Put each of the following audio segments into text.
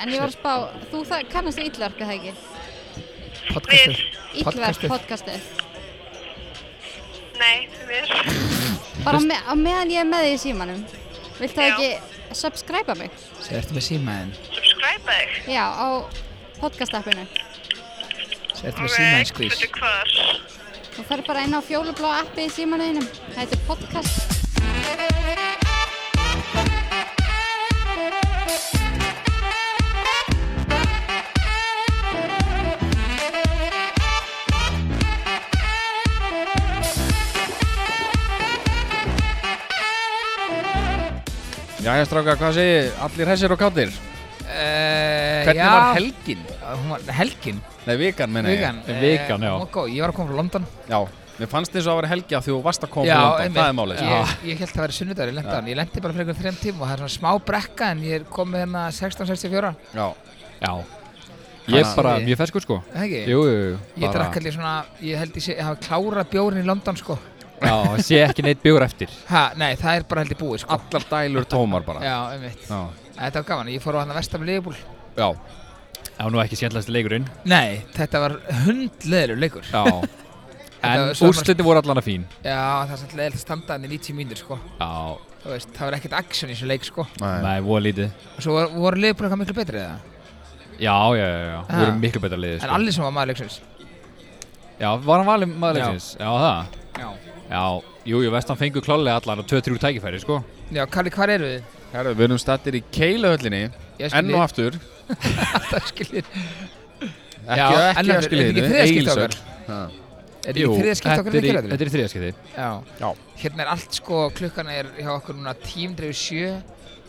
En ég var að spá, þú það- kannast við illverk, er það ekki? Podcastið. Illverk, Podcastið. podcastið. Nei, því mér. Bara me á meðan ég er með því í símanum. Vilt það Já. ekki subscribe mig? Sér ertu með símaðinn. Subscribe þig. Já, á podcast-appinu. Sér ertu með símaðinn skvís. veitu hvað. Þú fer bara inn á fjólublá appi í símanuðinum. Það heitir podcast. Jæja stráka, hvað segir allir hessir og káttir? Hvernig var helgin? Eh, Hún var helgin, Nei, vikan menna ég vikan. eh, Vikan, já. hún var góð. Ég var að koma frá London. Já, mér fannst eins og að vera helgi að því þú varst að koma Já, frá London, einmitt. það er málið sko. Ég, ég held að það væri sunnudagur, ég lendi á hann. Ég lendi bara fyrir einhvern þrejum tíma og það er svona smá brekka en ég er komið hérna 16.64. Já, Já. Ég Hvað- bara, ég feskur sko. Er Það ekki? Jú, jú, jú. Ég bara- drakk allir svona, ég held ég sé, ég hafa klárað bjórin í London sko. Já, sé ekki neitt bjór eftir. Ha, nei, það er bara held ég búið sko. allar dælur tómar bara Já, einmitt. Já, Þetta var gaman, ég fór á hérna hann að vestam leifbúl. já, Það var nú ekki skemmtilegast leikurinn. Nei, þetta var hundleðilur leikur. Já. Þetta en var sumar- úrslitin voru allan að fín. Já, það er svolítið leðilegt að standa hann í 90 mínútur sko. Já, Þú veist, það var ekkert action í þessu leik sko. nei, nei, voru lítið. Og svo voru, voru leifbúl eitthvað miklu betri eða? Já, já, já, já. Ha. Voru miklu betra liðið, En sko. allir sem var maður leiksins. Já, var hann valið maður leiksins? Já, það. Já. Já, jú, jú, vestan fengur klálega allan og 2-3 tækifæri, sko. Já, Kalli, hvar eru þið? herru, við erum stattir í keiluhöllinni Ég Enn og aftur, alltaf skilir. ekki, Já, enn ekki og að aftur, er skilja þetta ekki þriðja skipti okkar? Er þetta Jú, í þriðja skipt okkur þetta er í- leikir þetta? Þetta er í þriðja skipti. Já. Já. Hérna er allt sko, klukkan er hjá okkur núna tímdreifu sjö.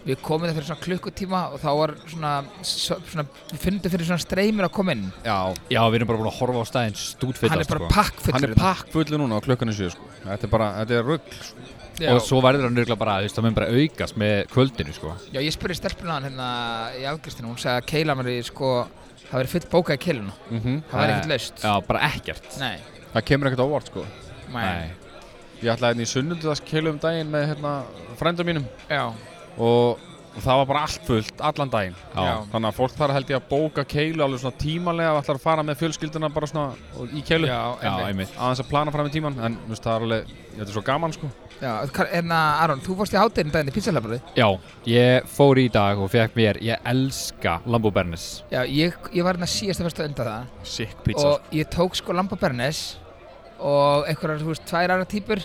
Við komum það fyrir svona klukkutíma og þá var svona, svo- svona við fundum fyrir svona streymir að koma inn. Já, Já, við erum bara búin að horfa á staðinn stútfyllast, Hann er bara sko. pakkfullur. hann er hérna. pakk fullu núna á klukkan 7 sko Þetta er bara, þetta er sko. rugg Já. Og svo verður hann örgulega bara, þú veist, það mun bara aukast með kvöldinu, sko. Já, ég spurði stelpuna hann hérna í afgjörstinu. Hún sagði að keila mér í sko, það verið fullt bókað í keiluna. Mhm. Það væri ekkert laust. Já, bara ekkert. Nei. Það kemur ekkert ávart sko Nei. Ég ætlaði hérna í sunnundags keilu um daginn með hérna frændum mínum Já. og, og það var bara allt fullt allan daginn Já. Já. Þannig að fólk þarf held ég að bóka keilu alveg svona tímanlega og ætlar að fara með fjölskylduna bara svona og- í keilu Já, Já, einmitt. einmitt. aðeins að plana fram í tíman en þú veist, það er alveg, þetta er svo gaman sko Já, hvað- hérna, Aron, þú fórst í hátinn daginn í pizzahlabröði. Já, ég fór í dag og fekk mér, ég elska Lambo Bernes. Já, ég, ég var hérna síðast að fyrsta undan það. Sick pizza. og ég tók sko lamba bernes og einhverjar, þú veist, tvær aðra típur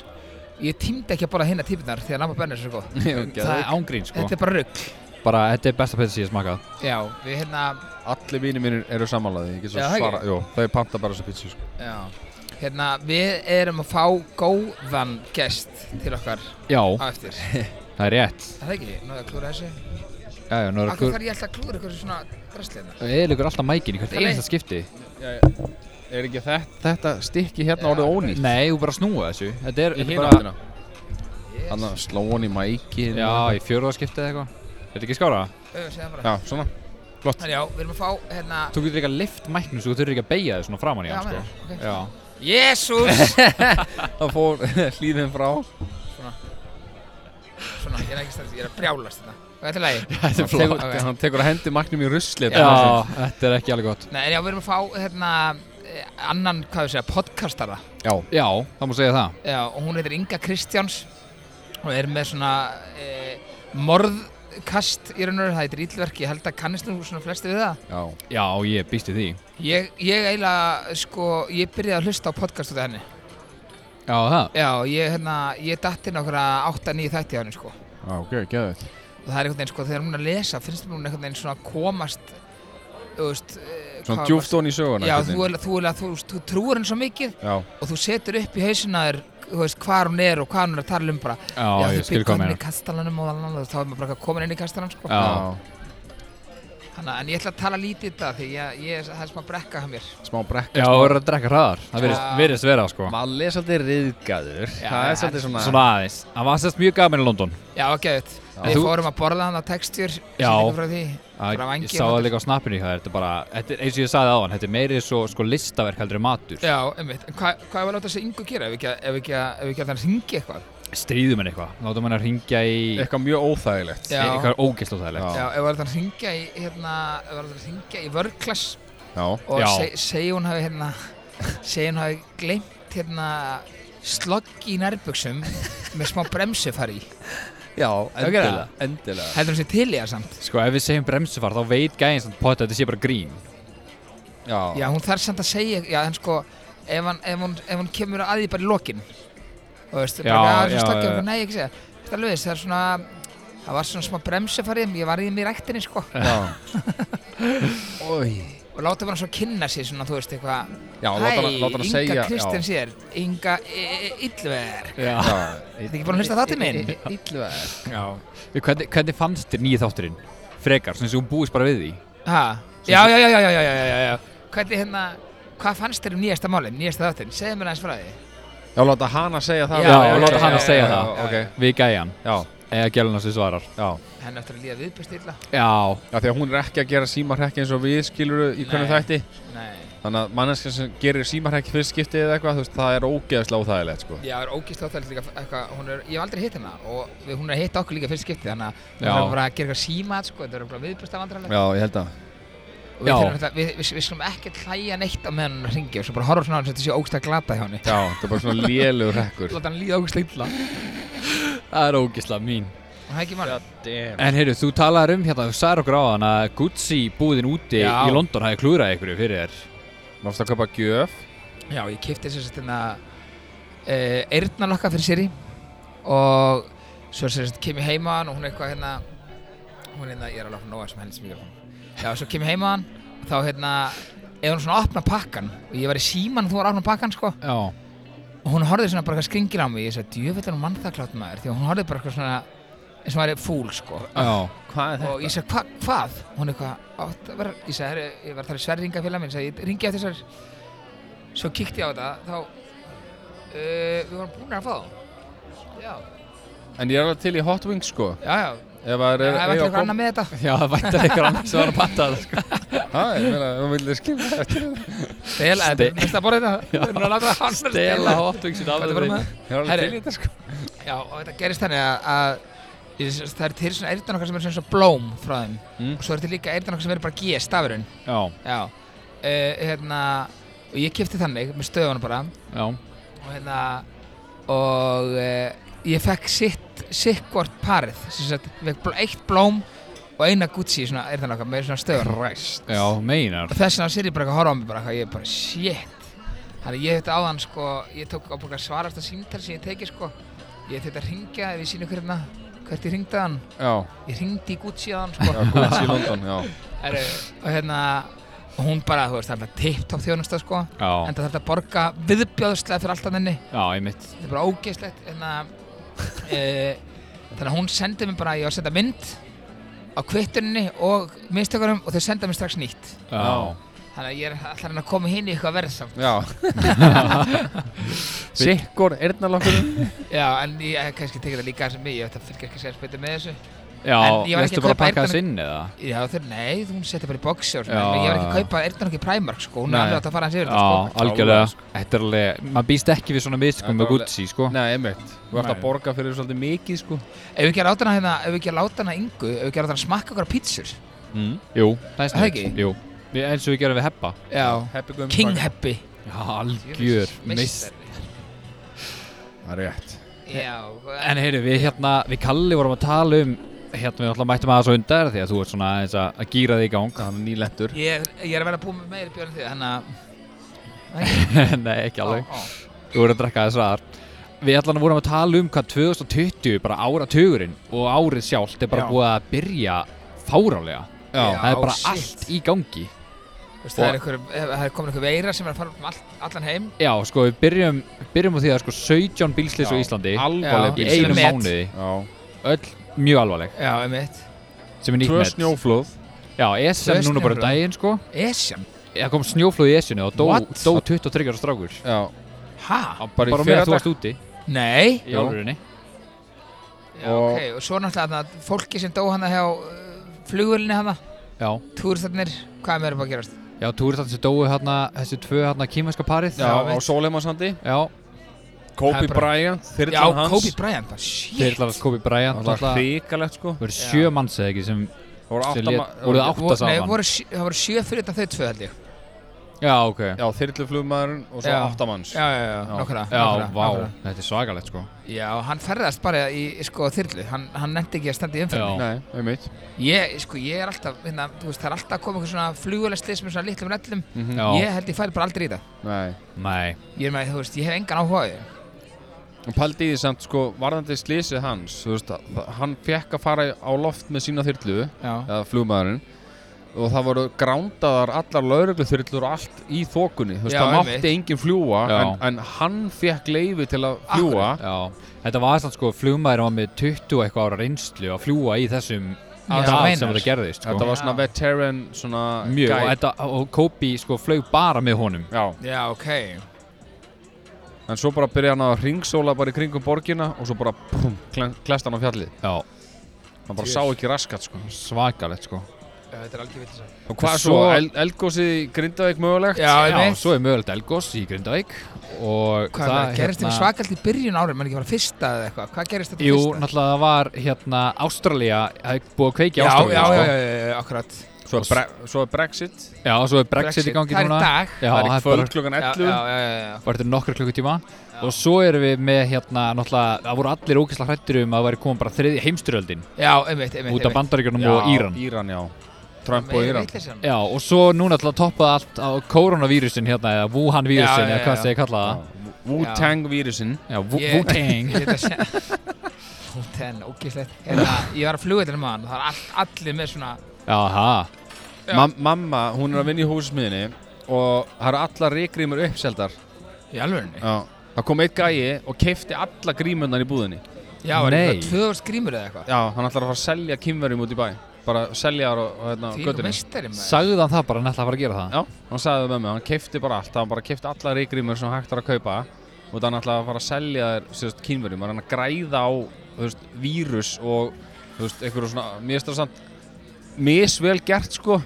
ég tímdi ekki að bóla hinna típunar því að lamba bernes er svo góð það er ángrín, sko. þetta er bara rugg Bara, þetta er besta pizza sem ég hef smakað. já, við hérna, Allir vinir mínir eru samanlæði, ég get svo Já, það svara Jú, það er panta bara þessa pizza sko já, hérna við erum að fá góðan gest til okkar Já, á eftir er það er rétt. það ekki, náðu að klúra þessu Já, já, nú er akkur okkur, þarf ég alltaf að klúra ykkur svona drastleina eðlugur alltaf mækinni, hvert Nei. einasta skipti. Er ekki þetta, þetta stikki hérna Já. orðið ónýtt? Nei, þú bara snúa þessu. Þetta er, Í þetta er hina bara, áttina Þannig að sló hann í mækin já, í fjörða skipti eða eitthvað. Er þetta ekki skára? já, Já, svona já, við erum að fá hérna Þú getur líka lift mæknum svo þú þurfir ekki að beigja þig svona framan í Já, hann, meinar, sko. ok. Já, Jésús Það fór hlýðin frá svona, ég er ekki stærst, ég er að brjálast þetta og þetta er lægi Þetta er flott. Tekur, Hann tekur að hendi maknum í rusli já, þetta er ekki alveg gott. Nei, en já, við erum að fá hérna eh, annan, hvað við segja, podcastara já Já, það má segja það. já, og hún heitir Inga Kristjáns og er með svona e, morðkast í raun og veru, það heitir íllverk, ég held að kannist nú svona flesti við það. Já Já, ég býst í því. Ég, ég eiginlega, sko, ég byrjaði að hlusta á podcast út af henni. Já, það. Já, ég, hérna, ég datti nokkra 8-9 þætti á henni, sko. Já, ok, geðið Og það er einhvern veginn, sko, þegar hún er að lesa, finnst mér hún einhvern veginn svona komast, þú veist, eh, Svona hvað- djúft hon í söguna Já, einhvern þú, veginn. eiginlega- þú, eiginlega- þú, þú, þú trúir henni svo mikið Já, og þú setur upp í hausina þér þú veist hvað hún er og hvað hún er að tala um bara Já, já ég skil byggu hvað hann meina. í kastalanum og allan og þá er maður bara komin inn í kastalan sko Já. Hanna, en ég ætla að tala lítið þetta því ég, ég, það er smá brekka hjá mér smá brekk Já, þú verður að drekka hraðar. Það virðist, Já. virðist vera, sko. Malli er svolítið riðgæður Það er svolítið svona Svona aðeins. Það var sérst mjög gaman í London. já ok, En við þú- fórum að borða hann á textjur Já. frá því Að, Bara vangi ég sá og það þetta. líka á snappinu hjá þér. Þetta er bara, þetta er, eins og ég sagði áðan, þetta er meiri svo sko listaverk heldur en matur. já, einmitt, en hvað hva er að láta þessi yngu gera ef við ekki að, ef við ekki að, ef við ekki að þannig hringi eitthvað stríðum henni eitthvað látum henni að ringja í Eitthvað mjög óþægilegt Já. eitthvað ógæsla þærlegt Já. Já, ef var þetta að ringja í, hérna, ef var þetta að ringja í vörklass Já. og Já. seg- segi hún hafi, hérna, segi hún hafi gleymt, hérna, slogg í nærbuxum með smá bremsu fari í. Já, endilega, endilega Heldur hún sér til í það samt? sko ef við segjum bremsufar þá veit gæðin samt potta að þetta sé bara grín Já, Já, hún þarf samt að segja, já, en sko, ef, hann, ef, hún, ef hún kemur að því bara í lokin og veist, Já, bara að já, þessu stakki já. og nei, ekki segja Þetta er alveg, þess, það er svona, það var svona smá bremsufarið, ég var í þeim í ræktinni, sko já. Oj. og láta bara svo kynna sér svona, þú veist, eitthvað Já, láta hana, láta hana Inga segja E, Kristinn sér, Inga e, Yllver já. Já, Þetta ekki búin að hlusta það til minn? Ítlverð Hvernig, hvernig fannst þér nýja þátturinn frekar svona eins og hún búist bara við því Ha, já, já, já, já, já, já, já, já, já Hvernig hérna, hvað fannst þér um nýjasta málin, nýjasta þáttinn? Segðu mér aðeins frá því Já, láta hana segja það Já, bara. já, Ok, láta hana já, segja já, það. já, Ok, við gæjan já, eða gælun sem svarar já Henni eftir að líða viðbjörst illa já Já, því að hún er ekki að gera símarhekki eins og við skiluru í Nei. hvernig þætti Nei Þannig að manneska sem gerir símarhekki fyrst skiptið eða eitthvað, þú veist, það er ógeðslega óþægilegt, sko Já, það er ógist áþægilegt líka eitthvað, hún er, ég hef aldrei hitt hérna og við, hún er að hitta okkur líka fyrst skipti þannig að hún Já. er bara að gera eitthvað símat sko, þetta er bara viðbjörsta vandrarlega Já, ég held að og við, Já. þurfum þetta- við, við, við skulum ekki hlæja neitt á meðan hún ringi og svo bara horfa svona á hann sem þetta sé ógst að glata hjá henni Já, það er bara svona lélugur hekkur Láta hann líða ógst illa og það er ógæsla mín það er ekki mál Damn en heyrðu þú talaðir um hérna þú sagðir okkur á hann að Gucci búðin úti Já. í London hafi klúðrað ykkur fyrir þér Mást að köpa gjöf Já, ég kipti þess að þetta uh, hérna, eyrnalokka fyrir Siri og svo sem þetta kem ég heima á hann og hún er eitthvað hérna hún er hérna, ég er alveg að nóga sem helst mikrofón Já, svo kem ég heima á hann og þá hérna ef hún svona opna pakkan og ég var í síman þú var að opna pakkan sko já og hún horfði svona bara eitthvað skringil á mig ég sagði, djöfitt er hún mannþakklátt maður því að hún horfði bara eitthvað svona eins og hún væri fúl sko já Hvað og ég sagði, hva, hvað? hún eitthvað, átt að vera ég sagði, herri, ég var þar í sverringafélag minn ég sagði, ég ringi eftir þessar svo kíkti ég á þetta þá uh, við vorum búin að fá það já, En ég er alveg til í Hot Wings, sko já, já Ef að það er er eiga eitthvað kom- annað með þetta Já, það væntar eitthvað annars að vera að patta það sko. Já, ég meina, þú vilja skilja þetta stela, þetta er mest að borða þetta við erum að láta það hann Dela hotdogsin af Hvað er bara með? Ég er alveg Herri. til í þetta, sko Já, og þetta gerist þannig að, að ég- það er til svona eyrtan okkar sem er svona eins og blóm frá þeim Mm. og svo er til líka eyrtan okkar sem er bara G, stafurinn Já, Já, uh, hérna, og ég kipti þannig með stöðunum bara já, og hérna, og uh, ég fekk sitt, sikkvort parið, sem sagt, ég fekk bl- eitt blóm og eina Gucci svona eyrtan okkar með svona stöðunum Christ. já, meinar Og þess vegna sér ég bara eitthvað að horfa á mig bara eitthvað, ég er bara shit Þannig að ég þetta áðan sko, ég tók á bara svarasta símtal sem ég teki sko Ég þetta að ringja ef ég sýni hverna, hvert ég ringdi hann Já, Ég ringdi í Gucci að hann sko já, Gucci í London, já Heru, Og hérna, og hún bara, þú veist, það er bara tipptopp þjónusta sko Já, Enda þarf þetta að borga viðbjóðslega fyrir alltaf henni já, einmitt Þetta er bara ógeðslegt hérna, e, Þannig að hún sendi mér bara, ég var að senda mynd á kvittuninni og mistökunum og þau senda mér strax nýtt Já, Þannig að ég er alltaf að reyna að koma hinn í eitthvað verðsamt Já Sikkur eyrnalokkurinn Já, en ég hef kannski tekið það líka sem mig, ég veit að fylgja ekki sér spytið með þessu. já, En ég var ekki veistu að kaupa bara að pakka eyrnana- þess inn eða? Já, þeir, nei, hún setja bara í boxi og svona, en ég Já, var ekki já. að kaupa Erna ekki Primark, sko, hún Nei. er alveg átt að fara hans yfir Já, þetta, sko. algjörlega Þetta er alveg, maður býst ekki við svona miskum Þetta er með alveg- Gucci, sko Nei, einmitt Þú ert Nei. að borga fyrir svolítið mikið sko Ef við ekki að láta hana hérna, ef við ekki að láta hana yngu, ef við ekki að láta hana smakka okkur á pítsur. mm. Jú, það er Það snögg ekki? Jú, Við- eins og við gerum við heppa Já, Happy Gum King Happy. Já, algjör, mist meistari. Það er rétt Já, En heyri, við hérna, við Kalli vorum að tala um Hérna við alltaf mættum aðeins á undar Því að þú ert svona aðeins að að gýra þig í gang Hann er nýlendur ég er, ég er að vera búin með meiri björn þið, þannig Nei, ekki að... alveg Ó, ó. Þú voru að drekka þess aðar Við allan vorum að tala um hvað 2020 bara áratugurinn og árið sjálft er bara Já. búið að byrja fárálega Já, Það er bara shit. allt í gangi Þú veist, Það er einhver, það er komin einhver veira sem er að fara um allt, allan heim. Já, sko við byrjum, byrjum á því að sko 17 bílslis á Já, Íslandi alvarleg í bílslys. einum Met. mánuði Já Öll mjög alvarleg Já, um eitt. sem er nýtt Tvö met snjóflóð Já, Tvö SM núna bara um snjóflóð. daginn sko Esjan? Það kom snjóflóð í Esjunni og dó, What? dó 23 ára strákur Já Hæ? Bara í Bara með að þú fyrradag varst úti Nei? í Já. álurinni Já, Og- ok, og svo náttúrulega þarna fólki sem dó hana hjá uh, flugvölinni hana, Já, túristarnir, hvað er meira búið að gerast? já, túrið þannig sem dóu hérna, þessi tvö hérna kýmverska parið Já, á Sóleimansandi Já, Það Kobe er bara- Bryant, Já, þyrlan hans Kobe Bryant, bara shit Þyrlan Kobe Bryant Það var náttúrulega- hrikalegt sko Það voru sjö manns eða ekki sem Það voru sem átta lét- ma- voru það átta Vo- Nei, saman? voru sjö- það voru sjö fyrir þetta þau tvö held ég Já, ok Já, Já, þyrluflugmaðurinn og svo Já. áttamanns Já, já, já, nokkuna vá, þetta er svakalegt sko Já, hann ferðast bara í sko þyrlu Hann, hann nefndi ekki að standa í umfyrir Já. Nei, einmitt Ég, sko, ég er alltaf, hérna, þú veist, það er alltaf að koma eitthvað svona flugulestis með svona litlum rellum Já, Mhm. Ég held ég færi bara aldrei í það Nei nei Ég er með, þú veist, ég hef engan áhuga á því En paldi í því samt sko, varðandi slísið hans Þú veist, að- það- hann fekk að fara á loft með sína þyrlu Já, eða flugmaðurinn og það voru grándaðar allar laurugluþyrlur og allt í þokunni þú veist, Já, það einmitt. mátti enginn fljúa Já. en, en hann fekk leiði til að fljúa Já, þetta var alltaf sko flugmaður var með 20 eitthvað ára reynslu að fljúa í þessum Já, dag meinar. sem þetta gerðist sko. þetta var Já. svona veteran svona mjög og, guy. þetta, og Kobe sko flög bara með honum Já, já, ok en svo bara byrja hann að ringsóla bara í kringum borgina og svo bara brum, klest hann á fjallið Já, hann bara Djöfull. sá ekki raskat sko svakalegt sko Þetta er algjör vitið svo og hvað Svo- svo, el, eldgósið í Grindavík mögulegt Já, ég Já, veit svo er mögulegt Elgos í Grindavík og hérna- Hvað það, gerist þetta svakalt í byrjun árið, mann ekki bara fyrsta eða eitthvað Hvað gerist þetta Jú, fyrsta? náttúrulega það var hérna Ástralía, það er búið að kveiki já, já, Ástralía já, sko. já, já, já, akkurat svo, er bre, svo er Brexit já, svo er Brexit, í gangi það núna Það er í dag Já, það er það í er bara kvöld klukkan Já, 11 já, já, já, já. var þetta nokkur klukkutíma og svo erum við með hérna náttúrulega, það voru allir ógeðslega hrættir um að það væri komið bara þriði heimsturöldin já, einmitt, einmitt út af bandaríkjörnum og Íran Íran, já Trump og Íran Já, Já, og svo núna alltaf toppaði allt á koronavírusin hérna, eða Já, Wuhan-vírusin, já, eða hvað já. segja ég kalla það Wu-Tang vírusin Já, Wu- Ég- Wu-Tang ég veit að Húten, ógislegt Hérna, ég var að flugveitlinu maður Það er all, allir með svona Já, ha, Já. Ma mamma, hún er að vinna í húsmiðinni og það eru allar reykgrímur uppseldar Í alvörunni Já. það kom eitt gæi og keifti alla grímurnar í búðinni Já, var Nei. þetta 2000 grímur eða eitthvað já, hann ætlar að fara að selja kýmverjum út í bæ bara selja þar og hérna á Því þú göttunni meistari maður sagði hann það bara hann ætlaði að fara að gera það já, hann sagði það með mig, hann keifti bara allt hann bara keifti alla reykgrímur sem hægt er að kaupa og þannig ætlar að fara að selja þér kýmverjum, hann er að græða á þú veist, vírus og þú veist, einhverju svona, mér finnst það samt misvel gert sko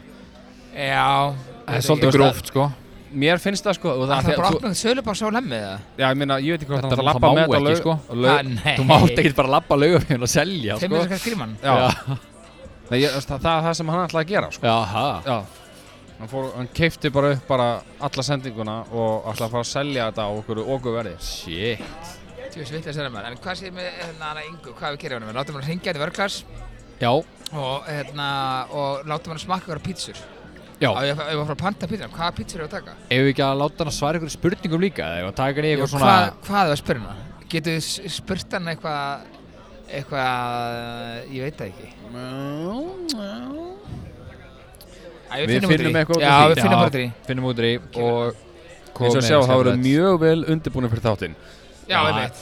Já Það er svolítið gróft, sko mér finnst það sko og það, Það er þegar- bara þú- að opna sölubás á lemmið það Já, ég meina, ég veit ekki hvort Þetta- hann ætlar það að lappa má með þetta ekki, laug- sko. laug- Ah, Nei Þú mátt ekkert bara labba laugafjörn og selja, Þeim er sko þessar gríman Já, Já. Nei, ég, það, það er það sem hann ætlaði að gera, sko Já, ha Já Hann, fór, hann keipti bara upp bara alla sendinguna og ætlaði að fara að selja þetta á okkur okkurverði Shit Þú veist, vilt að segja maður En hvað séð með hérna hana yngu Hvað við gerum hann Látum hann hringja þetta vörglas Já, Og hérna Og látum hann smakka ykkur pítsur já, Já Ég var að fara að panta pítsur Hvaða pítsur er að taka? ef við ekki að láta hann að svara ykkur spurningum líka eða eigum við að taka hann Jú, í eitthvað svona hvað, hvað er að spyrja hana? Getur þið s- spurt hann eitthvað, eitthvað, ég veit það ekki. Æ, Við finnum eitthvað út úr Já, því. við finnum Já, bara út úr því. Finnum út úr í og hérna Eins og sjá, það voru mjög vel undirbúinu fyrir þáttinn Já, Já. ég veit.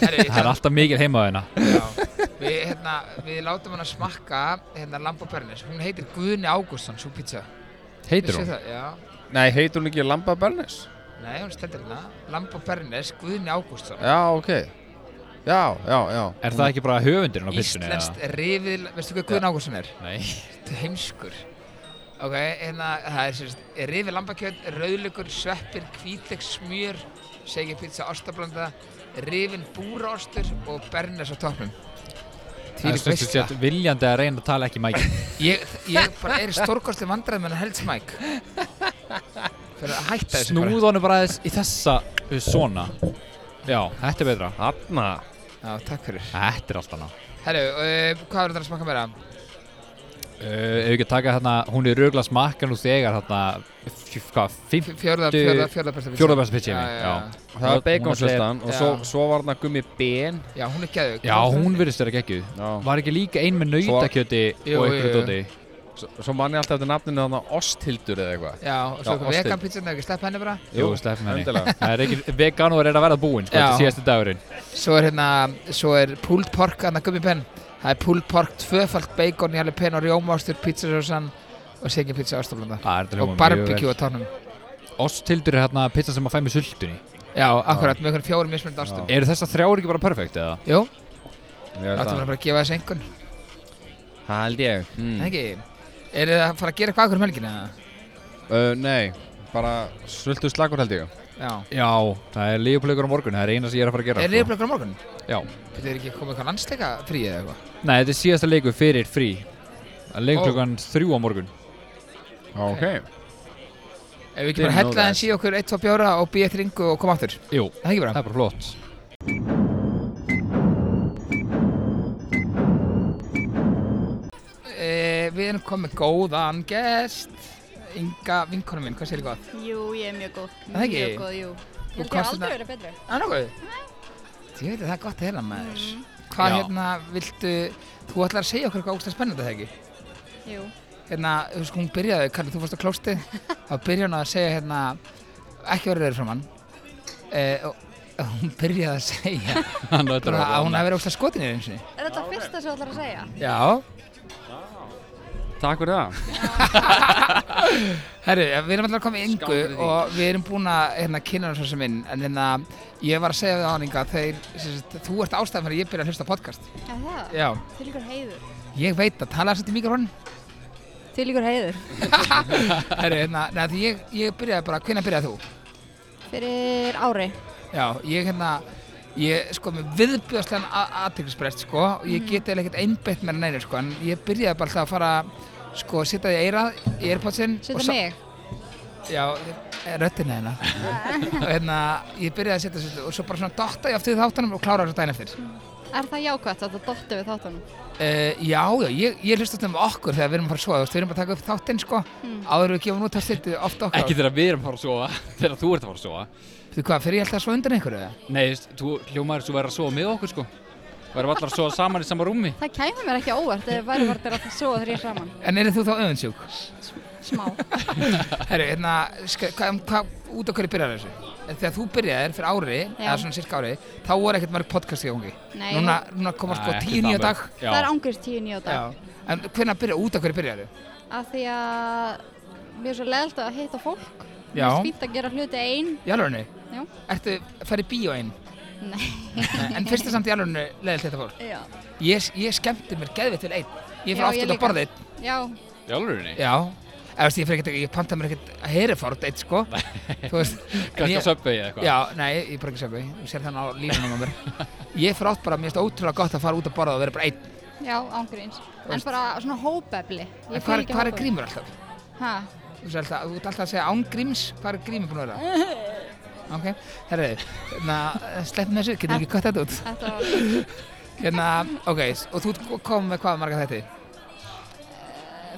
Herri, ég Það er ætla- alltaf mikil heima á hérna Já. Við, hérna, við látum hann að smakka, hérna, Lambo Bernis. Hún heitir Guðni Ágústsson, svo pizza. Heitir hún? Það, já. Nei, heitur hún ekki Lamba Bernis? Nei, hún stendur hérna. Lambo Bernis, Guðni Ágústsson. Já, ok Já, já, já Er það ekki bara höfundurinn á pyssunni? eða? Íslenskt rifið, veistu hvað Guðni Ágústsson er? Nei Þetta er heimskur ok, hérna, það er sérst rifið lambakjöt, rauðlugur, sveppir hvítleik, smjör, segja pizza ostablanda, rifin búraostur og bernes á toppnum Það Þvílík er stundum veisla. sett viljandi að reyna að tala ekki mækinn ég, ég bara er stórkostið vandræð með helds mæk fyrir að hætta þessu bara. Snúð honum bara aðeins í þessa uh, svona Já, þetta er betra Hanna já, takk fyrir Þetta er alltaf ná herru, uh, hvað verður þetta að smaka meira? uh, Ef við ekki að taka hérna, hún er röglega smakkan úr þegar hérna f- Hvað, fimm? F- fjórða, Dö- fjórða, fjórða besta pizza Fjórða besta pizza í já, heimi, já, já. já. Það var beigonsvöldan og svo, Já. svo var hann að gummi ben já, hún er geðug Já, hún virðist vera geggjuð Já Var ekki líka ein með nautakjöti Jú, og einhverju jú, jú. dóti Svo, svo manni alltaf eftir nafninu þannig að Osthildur eða eitthvað já, og Já, svo eitthvað ástin. vegan pizza, það er ekki slepp henni bara Jú, sleppum henni endilega. Það er ekki, veganúar er að verða búinn, sko, Já. til síðasti dagurinn Svo er hérna, svo er pulled pork, hann að gummi penn Það er pulled pork, tvöfalt bacon, jalapeno, rjómaostur, pizzasósan og segja pizza ástoflanda Það er þetta Og hljóma barbecue á tánum Osthildur er hérna pizza sem að fæ með sultunni Já, akkurat, með einhvern fjórum mismunandi ástum Eru þessar þrjár ekki bara perfekt eða? Jú, Ég veist láttum við það. bara að gefa þessu einhvern Það held ég mm. Ekki, eru þið að fara að gera eitthvað akkur um helgina? Uh, nei, bara svöldu slagur held ég Já. Já, það er lífplökur á morgun, það er eina sem ég er að fara að gera Er liðblökkur á morgun? sko. Já, Þetta er ekki komið eitthvað landsleika frí eða eitthvað? nei, þetta er síðasta leikur fyrir frí Það leikur Ó. klukkan þrjú á morgun Ok, Ef við ekki Didn't bara know hella that. aðeins í okkur 1-2 bjóra og býja eitt ringu og koma aftur? Jú, Það er ekki það bara? er bara flott E, við erum komið góðan gest. Inga, vinkonum minn, hvað sér þið gott? Jú, ég er mjög góð. Það ekki? Mjög góð, jú. Ég held ég komst hafi aldrei hérna- verið betri. Það er nokkuð? Ég veit að það er gott að heyra maður. Hvað Já. hérna viltu, þú ætlar að segja okkur eitthvað ógstæð spennandi þegar ekki? Jú. Hérna, þú veist, hún byrjaði, Karli, þú fórst á klósti, þá byrjaði hún að segja hérna, ekki verið verið fram hann. E, og, og hún byrjaði að segja Hann á eftir bara, að að- hún hafi verið ógstæð skotin í þeim sinni. Er þetta fyrsta sem þú ætlar að segja? Já. takk fyrir það Herru, við erum alltaf komið yngu Skáum við því. og við erum búin að hérna, kynna hans sem inn en hérna, ég var að segja við áninga þeir, sem sagt, þú ert ástæðan fyrir að ég byrja að hlusta á podcast Já, það. Já Til ykkur heiður. Ég veit að tala þess að í mikrofónin Til ykkur heiður. Herru, hérna, neða því ég, ég byrjaði bara, hvenær byrjaði þú? Fyrir ári. Já, ég hérna, ég sko með viðbjöðslegan aðtækisbrest sko og ég get eða ekkert einbeitt mér neina sko en ég byrjaði bara alltaf að fara sko, sitta í eira, í airpodsinn og Setja sa- mig? Já, röttina hérna og hérna, ég byrjaði að setja þessu og svo bara svona dotta ég aftur í þáttunum og klára þessu daginn eftir Er það jákvæmt að það dottu við þáttunum? uh, Já, já, ég, ég hlusta þetta með okkur þegar við erum að fara að sofa, þú veist, við erum bara að taka upp þáttinn sko, áður en við gefum út að setja ofta okkur Ekki þegar við erum að fara að sofa Þegar þú ert að fara að sofa Þú hvað, fyrir ég alltaf svo undan einhverju eða? Nei, þú veist, þú hljómaður svo verður að sofa með okkur sko Verður allar að sofa saman í sama rúmi Það kæmi mér ekki á óvart ef væri vart að sofa þrýr saman. En eru þú þá öfundsjúk? Smá. Herru, hérna, sk- hvað, hvað, út af hverju byrjar þessu? En Þegar þú byrjaðir fyrir ári, Já. eða svona cirka ári, þá voru ekkert marg podcast í gangi. Nei. Núna, núna koma sko Nei, ekki tíu nýja það dag. mörg. Það er Já, ángur tíu nýja dag. Já. En hvernig byrja, út af hverju byrjaðu? Af því að mér er svo leðalt að hitta fólk. Mér Já. er fínt að gera hluti einn. Í alvörunni? Já. Ertu, ferði bíó einn? Nei. Nei, en fyrst er samt í alvörinu leiðilegt þetta fólk. Já. Ég, ég skemmti mér geðveitt til einn. Ég fyrir Já, oft ég út að líka. borða einn. Já. í alvörinni Já. Eða veist, ég fyrir ekkert, ég panta mér ekkert að heyri fórt einn, sko. Þú veist. en Kanski ég- að söpvegi eða eitthvað Já, nei, ég bara ekki segja því. Þú sér þannig á línunum á mér. Ég fyrir oft bara, mér finnst ótrúlega gott að fara út að borða og vera bara einn. Já, ángríns. En veist- bara svona hópefli. En hvað er, hvað er grímur alltaf? Hæ? Þú veist alltaf, þú ert alltaf að segja án gríms, hvað er grímur búin að vera? Ok, herriði, hérna, sleppum þessu, getum við ekki kvætt þetta út. Þetta var Hérna, ok, s- og þú kom með hvað marga þetta?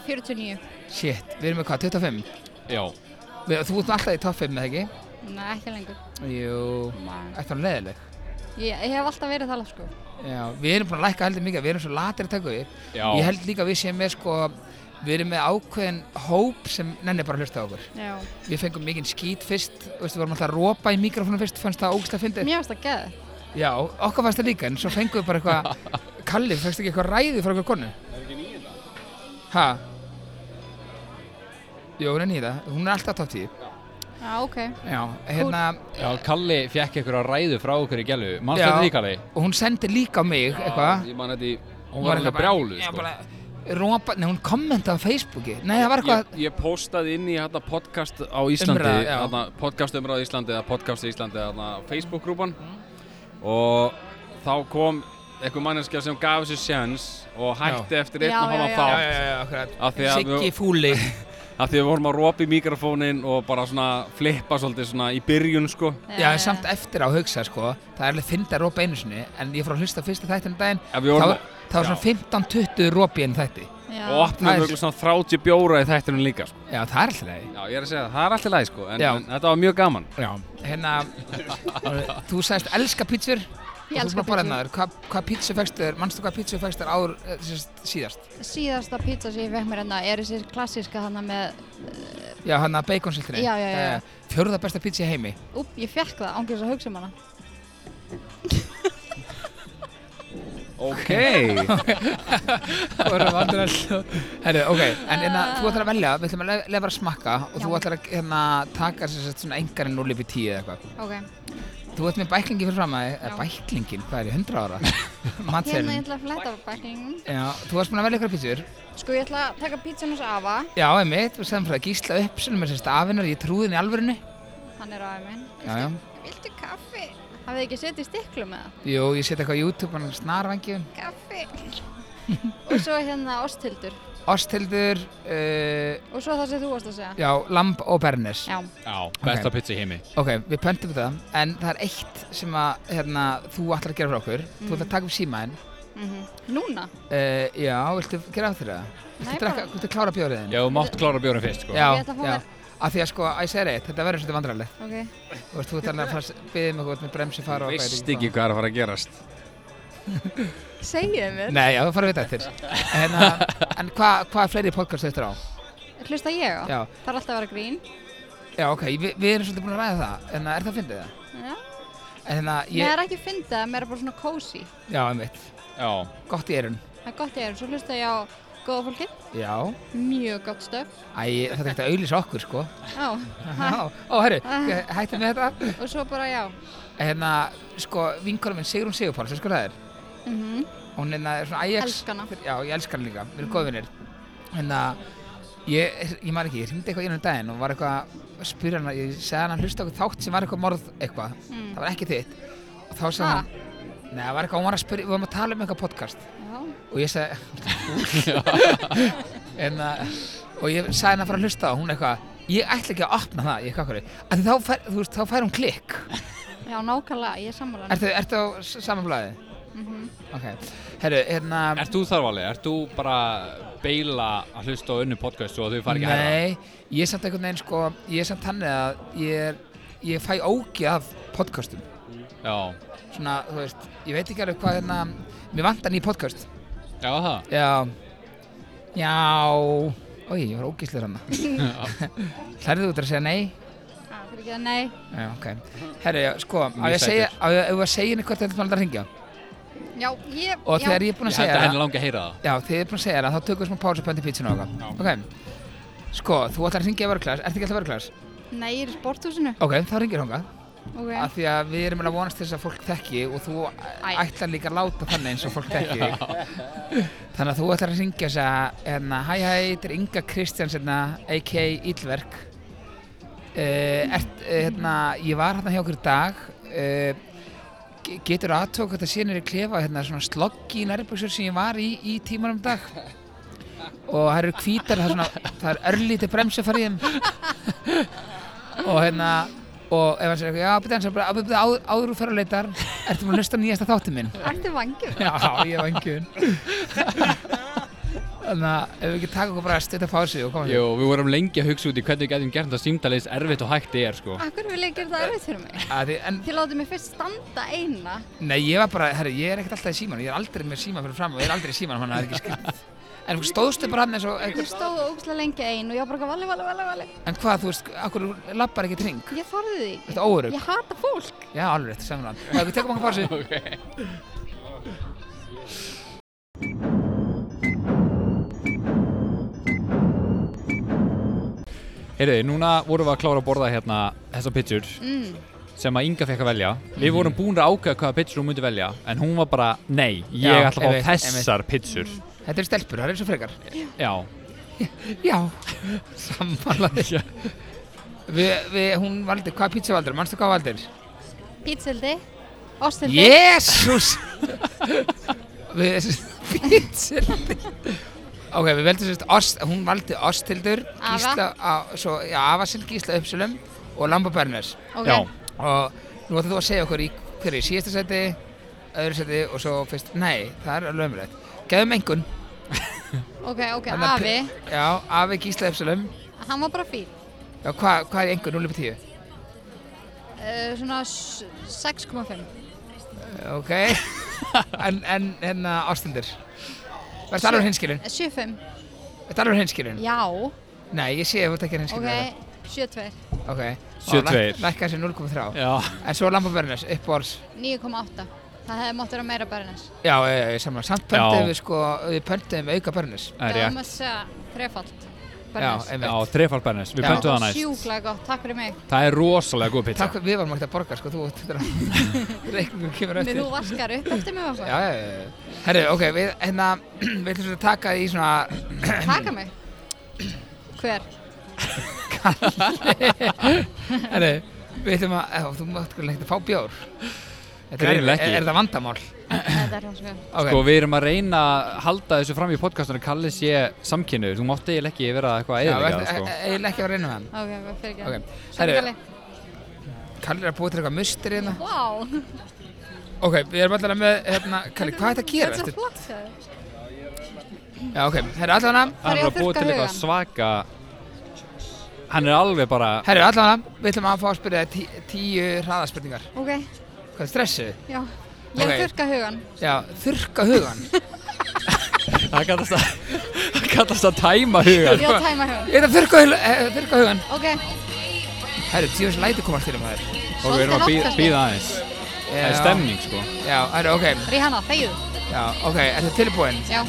49. Shit, við erum með hvað, 25? Já, Við, þú ert alltaf í topp 5 með ekki? Nei, ekki lengur. Jú, eftir hann leðileg. Ég, ég hef alltaf verið það, sko. Já, við erum búin að lækka heldur mikið, við erum svo latir að taka við. já Ég held líka að við séum með sko, við erum með ákveðin hóp sem nenni bara að hlusta á okkur. Já. Við fengum mikinn skít fyrst, veistu, við vorum alltaf að rópa í mikrofónu fyrst, fannst það ógst að fyndi. Mér finnst það geðið. Já, okkar fannst það líka, en svo fengum við bara eitthvað, Kalli, fengst ekki eitthvað ræði frá okkur konu? Ha? Jú, hún er nýða, hún er alltaf top 10. Já, ok. Já, hérna, Já, Kalli fekk eitthvað ræðu frá okkur í gælu Manstu Já. þetta því, Kalli? og hún sendi líka á mig, eitthvað. Ég man þetta í Hún var hérna alveg brjálu, Já, sko bara, rópa, nei, hún kommentaði á Facebooki. Nei, það var eitthvað, Ég, ég postaði inn í hérna podcast á Íslandi Umræða, já. hérna, podcast umræða á Íslandi eða podcast í Íslandi hérna, Facebook-grúpan Mhm. og þá kom einhver manneskja sem gaf sér sjans og hætti eftir einn Já, og já, hálfa já. já, þátt já, já, akkurat. Af því að Siggi við- fúli. af því að við vorum að ropa í mikrofónin og bara svona flippa svolítið svona í byrjun sko Já, en samt eftir á hugsa, sko, það er alveg fyndið að rópa einu sinni, en ég fór að hlusta fyrstu þættin um daginn, Ef við þá vorum var- þá var svona 15-20 rópi einu þætti. Já. og Það er- opnaðum við svona 30 bjóra í þættinum líka sko. Já, það er alltaf leiði. Já, ég er að segja það, það er alltaf læg sko en, Já. en þetta var mjög gaman Já. Hérna, og þú sagðist elska pítsur. Ég elska pizza. pítsur. Hvað hva pítsu fegst þér, manstu hvað pítsu fegst þér ár eh, sérst, síðast? Síðasta pizza sem ég fekk mér hérna er þessi klassíska hana með, Já, hérna, hann að beikonsiltinni. Já, já, já, já. Fjörða Eh, besta pítsi í heimi. upp, ég fekk það ángjörs að hugsa um hana. Ok Þú erum aldrei alltaf Herru, ok, en hérna, þú ætlar að velja, við ætlum að lef- lefa að smakka og þú Já. ætlar að hérna, taka sér sett svona engarinn 0 upp í 10 eða eitthvað Ok. Þú ert með bæklingi fyrir fram að, eða Já. bæklingin, hvað er ég, 100 ára? Hérna ég Matselin ætla að fletta á bakkingum. Já, þú varst búin að velja ykkur pítsur Sko, ég ætla að taka pizzan hos Ava. Já, einmitt, við sagðum frá að gísla upp, sem er sérst afinnar, ég trúði henni í alvörinu hann er afi minn. Já, já. Viltu kaffi? Hafið þið ekki setið stiklu með það? Jú, ég seti eitthvað á YouTube, hann snarvangjum. Kaffi? Og svo hérna Osthildur. Osthildur, uh, Og svo það sem þú varst að segja. já, lamb og bernes. Já. Já, besta pizza í heimi Ok, við pöntum það, en það er eitt sem að, hérna, þú ætlar að gera fyrir okkur. Þú Mm. ætlar að taka upp símaðinn. mhm. Núna? Uh, já, viltu gera það fyrir það? Nei, Viltu, drekka, bara- viltu klára bjóriðin? Já, þú mátt klára bjórnum fyrst sko já, Ég ætla að fá já. mér- Af því að sko, að ég segir eitt, þetta verður svolítið vandrarlegt. Ok. Þú veist, þú ert alveg að fara að byggja mig eitthvað með bremsi fara og Veist ekki hvað er að fara að gerast Segið mér. Nei, já, þú farið við þetta eftir. En, uh, en hvað hva er fleiri podcast eftir á? Hlusta ég á? Já, Það er alltaf að vera grín. já ok, vi, við erum svolítið búin að ræða það, en uh, er það að fyndið það? Já. En hérna, Ég... Mér ég, er ekki að fynda, mér er bara svona cozy. já, einmitt, Já, gott í erun. Það er gott ég er. Svo hlusta ég á góða fólkið. Já, Mjög gott stöf. æ, þetta er ekkert að auðlýsa okkur, sko. Já. Já, ó, herru, ég- hættu með þetta. Og svo bara já. Hérna, sko, vinkonum minn Sigrun Sigurpáls, sko það er. Mm Hún hérna er svona Ajax. Elskana. Já, ég elskar hann líka, við erum góðvinir. Hérna, ég, ég maður ekki, ég hringdi eitthvað innum daginn og var eitthvað að spyrja hann, ég segði hann að hlusta okkur þátt sem var eitthvað morð eitthvað, Mm. það var ekki þitt. Og þá sagði Ha? hann, neða, það var eitthvað, hún var að spyrja, við varum að tala um eitthvað podcast Já. og ég sagði, en að, og ég sagði hann að fara að hlusta og hún eitthvað, ég ætla ekki að opna það, ég kakkar þau, að þá fær, þú veist, þá fær hún klikk. Já, nákvæmlega. Ég er sammála. Ertu, ertu á samanblæði? Mm Ok, herru, hérna... Ert þú þarf alveg? Ert þú bara beila að hlusta á önnu podcast og þau fara ekki að herra? Nei, ég er samt einhvern veginn sko, ég er samt þannig að ég, er, ég fæ ógi af podcastum. Já, Svona, þú veist, ég veit ekki alveg hvað hérna, mér vantar nýj podcast. já það Já, já, oi, ég var ógíslur hana. Hlærðu út að segja nei? Það er Ah, ekki að nei. Já, ok. Herru, já, sko, á Mjög ég að segja, á ég á ég að segja henni hvert þetta maður að ringja. Já, ég... Og já. þegar ég er búinn að Ég held segja að henni það, langi að heyra það já, þegar ég er búinn að segja það, þá tökum við smá pásu pöndi pítsinu og eitthvað. Ok, sko, þú ætlar að ringja í vörklass, ertu ekki alltaf vörklass? Nei, ég er í sporthúsinu. Ok, þá ringir hongað. Ok. Af því að við erum alveg að vonast til þess að fólk þekki og þú Æ. ætlar líka að láta þannig eins og fólk þekki þig. Þannig að þú ætlar að ringja þess að, hérna, hæ hæ, þetta er Inga Kristjáns, hérna, a.k.a. Ílverk. Uh, ert, uh, hérna, ég var hérna hjá okkur í dag, uh, getur aðtók þetta síðan er í klefa, hérna, svona sloggi í nærbuksur sem ég var í, í tímanum í dag. Og það eru hvítar, það er svona, það er örlítið bremsu farið í þeim. og hérna, og ef hann segir eitthvað, já, byrja hans, bara, byrja áður, áður úr fyrir að leitar, ertu maður að hlusta á nýjasta þáttið minn? Ertu vangjur? Já, ég var engjum Þannig að ef við ekki taka okkur bara að stutta pásu og koma Jú, við vorum lengi að hugsa út í hvernig við getum gert það símdaleis erfitt og hægt er sko Akkur vil ég gera það erfitt fyrir mig? að því, en, Þið látið mig fyrst standa eina. Nei, ég var bara, herri, ég er ekkert alltaf í símanum Ég er aldrei með síman fyrir fram og ég er aldrei í símanum Þannig að það er ekki skrið En stóðstu bara hann eins og Ég einhver, stóð ógustlega lengi ein og ég var bara valli, valli, valli, valli. En hvað, þú veist, akkur lappar ekki tring Ég þorði því. Þetta óurug Ég hata fólk. Já, alveg rétt, sem hann Það við tekum okkur pásu Heyrðu, núna vorum við að klára að borða hérna þessa pizzur Mm. sem að Inga fekk að velja Mhm. Við vorum búin að ákveða hvaða pizzur hún myndi velja en hún var bara, nei, ég Já, ætla að einmitt, Mhm. fá þessar pizzur Þetta er stelpur, það er eins og frekar Já, Já, sammálaði Við, við, hún valdi, hvað pizza valdir, manstu hvað valdir? Pítsildi. Ostildi. Jésús Við Pítsildi Ok, við veldum sérst ost, hún valdi Ostildur Afa. Gísla, á, svo, já, Avasil, Gísla Uppsölum og Lamba Berners Ok. já, og nú ætlar þú að segja okkur í hverju síðasta seti öðru seti og svo fyrst nei, það er alveg umrætt gefum engun Ok, ok. Þannig að Afi. já, Afi Gísla Uppsölum Hann var bara fín. já, hvað hva er í engun, 0 upp 10 Uh, svona s- 6,5. ok en, en, en uh, Ostildur verður alveg hinskilin 7,5. verður alveg hinskilin Já. nei, ég sé að þú tekir hinskilin Ok. 7,2. Ok, Sjö Ó, tveir. læk- Lækka þessi 0,3 já En svo Lambo Berners, uppbórs 9,8. Það hefði mótt vera meira Bernes. Já, já, já, saman, samt Já. pöntum við sko Við pöntum auka Berners Það Það er var rétt maður að segja þrefald. Já, Bernes. Já, einmitt þrefald bernis, við Já. pöntum það næst Sjúklega gott. Takk fyrir mig. Það er rosalega góð pizza Takk, fyrir- við varum ekkert að borga sko, þú átt þetta að- Reikningum kemur Nei, eftir þú vaskar upp eftir mig og Já, já, já, já Herru, ok, við, hérna, við ætlum svo að taka því svona Taka mig Hver? Herru, Við ætlum að, eða, þú mátt ekki lengt að fá bjór Þetta er, Greinilega er, ekki. er það vandamál? Þetta er hans mjög. Okay. Sko, við erum að reyna að halda þessu fram í podcastunum Kalli sé samkynnu, þú mátt eiginlega ekki vera eitthvað Já, eðilega, verð- sko e- e- eiginlega ekki að reyna með Ok, við fyrir hann ekki. Ok, Sorry. herru, Kalli er að búa til eitthvað mustri hérna Vá, Ok, við erum allavega með, hérna, Kalli, hvað er þetta að þetta gera? er svo eftir- flott. sagði ég. Já, ok, herru, allavega Hann Þarf er ég bara að að búa þurrka til eitthvað hugann? svaka Hann er alveg bara Herru, allavega, við ætlum að fá að spyrja þig tí, tíu hraðaspurningar Ok, Hvað er stressið? já. Ég er að Ok. þurka hugan. Já, þurrka hugan Það kallast að Það kallast að tæma hugan Ég er að tæma hugan. Ég ætla að þurrka, hul- eh, þurrka hugan Ok, Herru, tíu þessi læti komast til um það Og við erum að Svolítið bí- hátt, bíða aðeins Það er stemning, sko Já, herru, ok, Ríhanna, þegju. já, ok, ertu tilbúin? Já,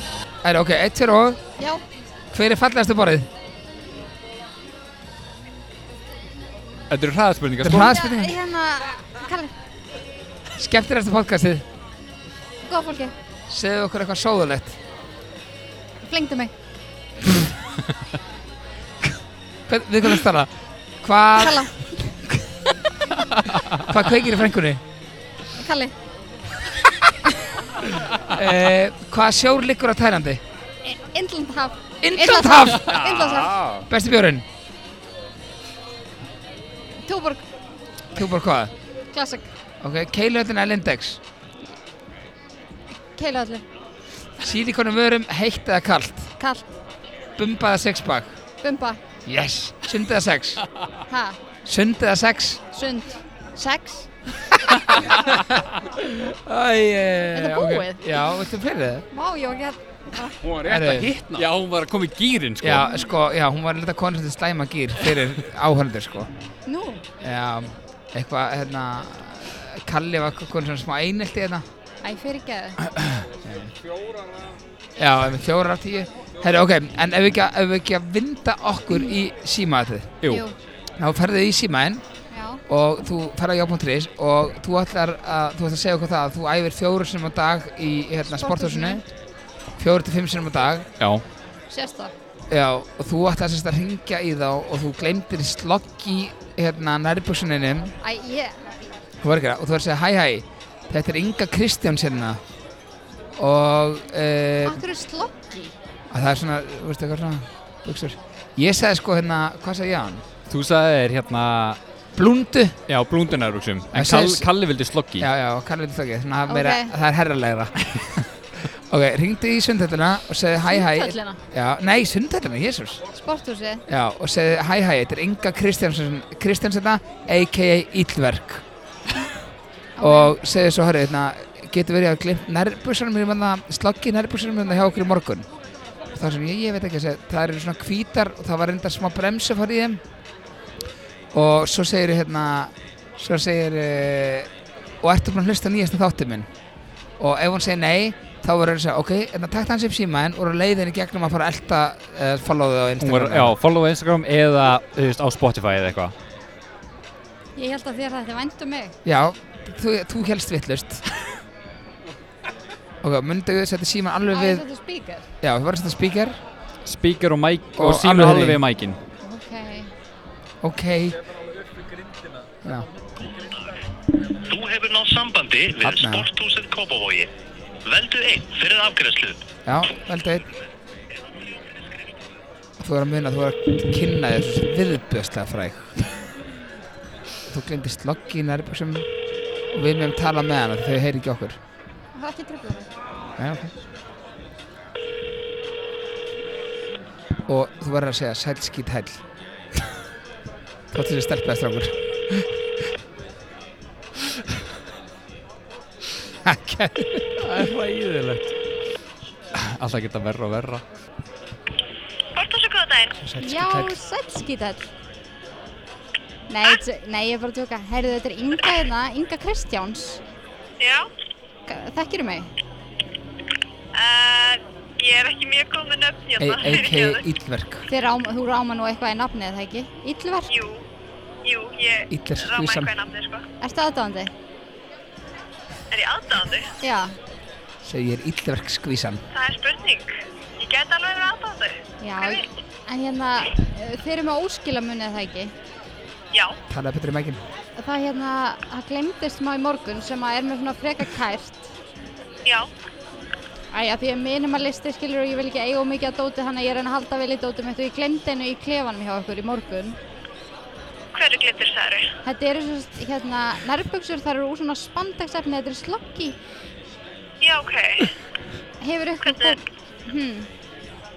Herru, ok, eitt fyrir og já. Hver er fallegastu borðið? Þetta eru hraðspurningar, Þetta Já, er sko hraðaspurningar Hérna, Kalli, Skemmtilegasta podcastið góða fólki, Segðu okkur eitthvað sóðulegt flengdu mig. Hvern, Við hvernig stala Hvað Kalla, hva kveikir í frængunni? Kalli, Eh, hvað sjór liggur á tærandi? Indlandhaf. Indlandhaf Indlandhaf, Besti bjórinn Túborg, Kjúpar hvað? Classic, Ok, keiluhöllin eða Lindex Keiluhallir, Sílikonum vörum, heitt eða kalt Kall, Bumba eða sexpack Bumba, Yes Sund eða sex Ha, Sund eða sex Sund, Sex, Æj Þetta eh, ok. búið? Já, veitum fleiri það? Má, ég var ekki að, Hún var rétt að Herru. hittna Já, hún var að koma í gýrin, sko Já, sko, já, hún var lítið konur sem slæma gýr fyrir áhörndur, sko nú, Já, eitthvað, hérna Kalli var konur sem smá einelti hérna æ, fyrir geðu. Já, ef við fjórar af tíu Herri, ok, en ef við ekki, ef við ekki að vinda okkur í símaðið Jú, Þá ferðu í símaðinn Já, og þú ferð á já.is og þú ætlar að, þú ætlar að segja okkur það að þú æfir fjóru sinum á dag í hérna, sporthúsinu Fjóru til fimm sinum á dag já sérst það. Já, og þú ætlar sérst að ringja í þá og þú gleymdir slokk í hérna nærbuksuninum Æ, ég, Þú var ekki það, og þú var að segja hæ hæ Þetta er Inga Kristjáns hérna Og uh, akkur er slokki? að það er svona, þú veist eitthvað svona buksur. Ég sagði sko hérna, hvað sagði ég á hann? Þú sagði þér hérna Blúndu? Já, blúndunarbuxum En Það Kall, sést- Kalli vildi sloggi Já, já, Karli vil þókið, svona okay. meira, Ok. það er herralegra Ok, ringdu í sundhællina og segði hæ hæ Sundhöllina. Já, nei, sundhællina, jésus Sporthúsið, Já, og segði hæ hæ, þetta er Inga Kristjánsson Kristjánsson, a.k.a. Íllverk Og segði svo, hörru, hérna getur verið að glimt nærbúsanum mér manna, slaggi nærbúsanum mér hjá okkur í morgun og það sem ég, ég veit ekki að segja, það eru svona hvítar og það var reyndar smá bremsu fara í þeim og svo segir hérna, svo segir uh, og ertu búin að hlusta á nýjasta þáttið minn og ef hún segir nei þá verður hann að segja, ok, en það takt hans upp símaðinn og er á leiðinni í gegnum að fara að elta uh, followðu á Hún Instagram var, já, follow á Instagram eða, þú veist, á Spotify eða eitthvað ég held að þér þetta væntu mig. Já, þú, þú helst vittlust Ok, myndu við setja síman Æ, alveg við þetta er speaker. Já, við varum að setja speaker Speaker og mic Og og, alveg símur alveg í. við mækin Ok, Ok Já, Þú hefur náð sambandi við Þarna. Sporthúsið Kópavogi. Veldu einn fyrir afgreðslu. já, veldu einn Þú er að muna, þú er að kynna þér svo viðbjöðslega fræg Þú glindir sloggi í nærbuxum og við meðum tala með hana þau heyri ekki okkur það er ekki tröflaður. Nei, ok Og þú verður að segja sæl skýt hæll Þóttir þessi stelpaði strákur Ekki Það er ræðilegt Alltaf geta verra og verra Sporthúsið góða daginn. Sæl Já, skýt hæll sælskítall. Nei, þetta- nei, ég er bara að tjóka. Herðu, þetta er Inga hérna, Inga Kristjáns. Já, Þekkirðu mig? uh, ég er ekki mjög góð með nöfn hérna. A- E- A.K. Íllverk Þið rám, þú ráma nú eitthvað í nafni eða ekki? Íllverk, Jú, jú, ég Íllverk ráma skvísan. eitthvað í nafni, sko. ertu aðdáðandi? Er ég aðdáðandi? Já, Segir ég er Íllverk skvísan Það er spurning. Ég get alveg verið aðdáðandi. já, Hver veit? en hérna, eh, þið eru með óskilamunni eða ekki? Já, Talaðu betur um ekki. Það hérna, það glemdist má í morgun sem að er mér svona freka kært. já, Æja, því að minimalisti skilur og ég vil ekki eiga of mikið að dóti þannig að ég er að halda vel í dóti mitt og ég glemdi hennu í klefanum hjá okkur í morgun. hverju glitur það eru? Þetta eru svo st- hérna nærbuksur, það eru úr svona spandagsefni, þetta eru slokki. Já, ok. Hefur ykkur Hvernig- fólk, hmm,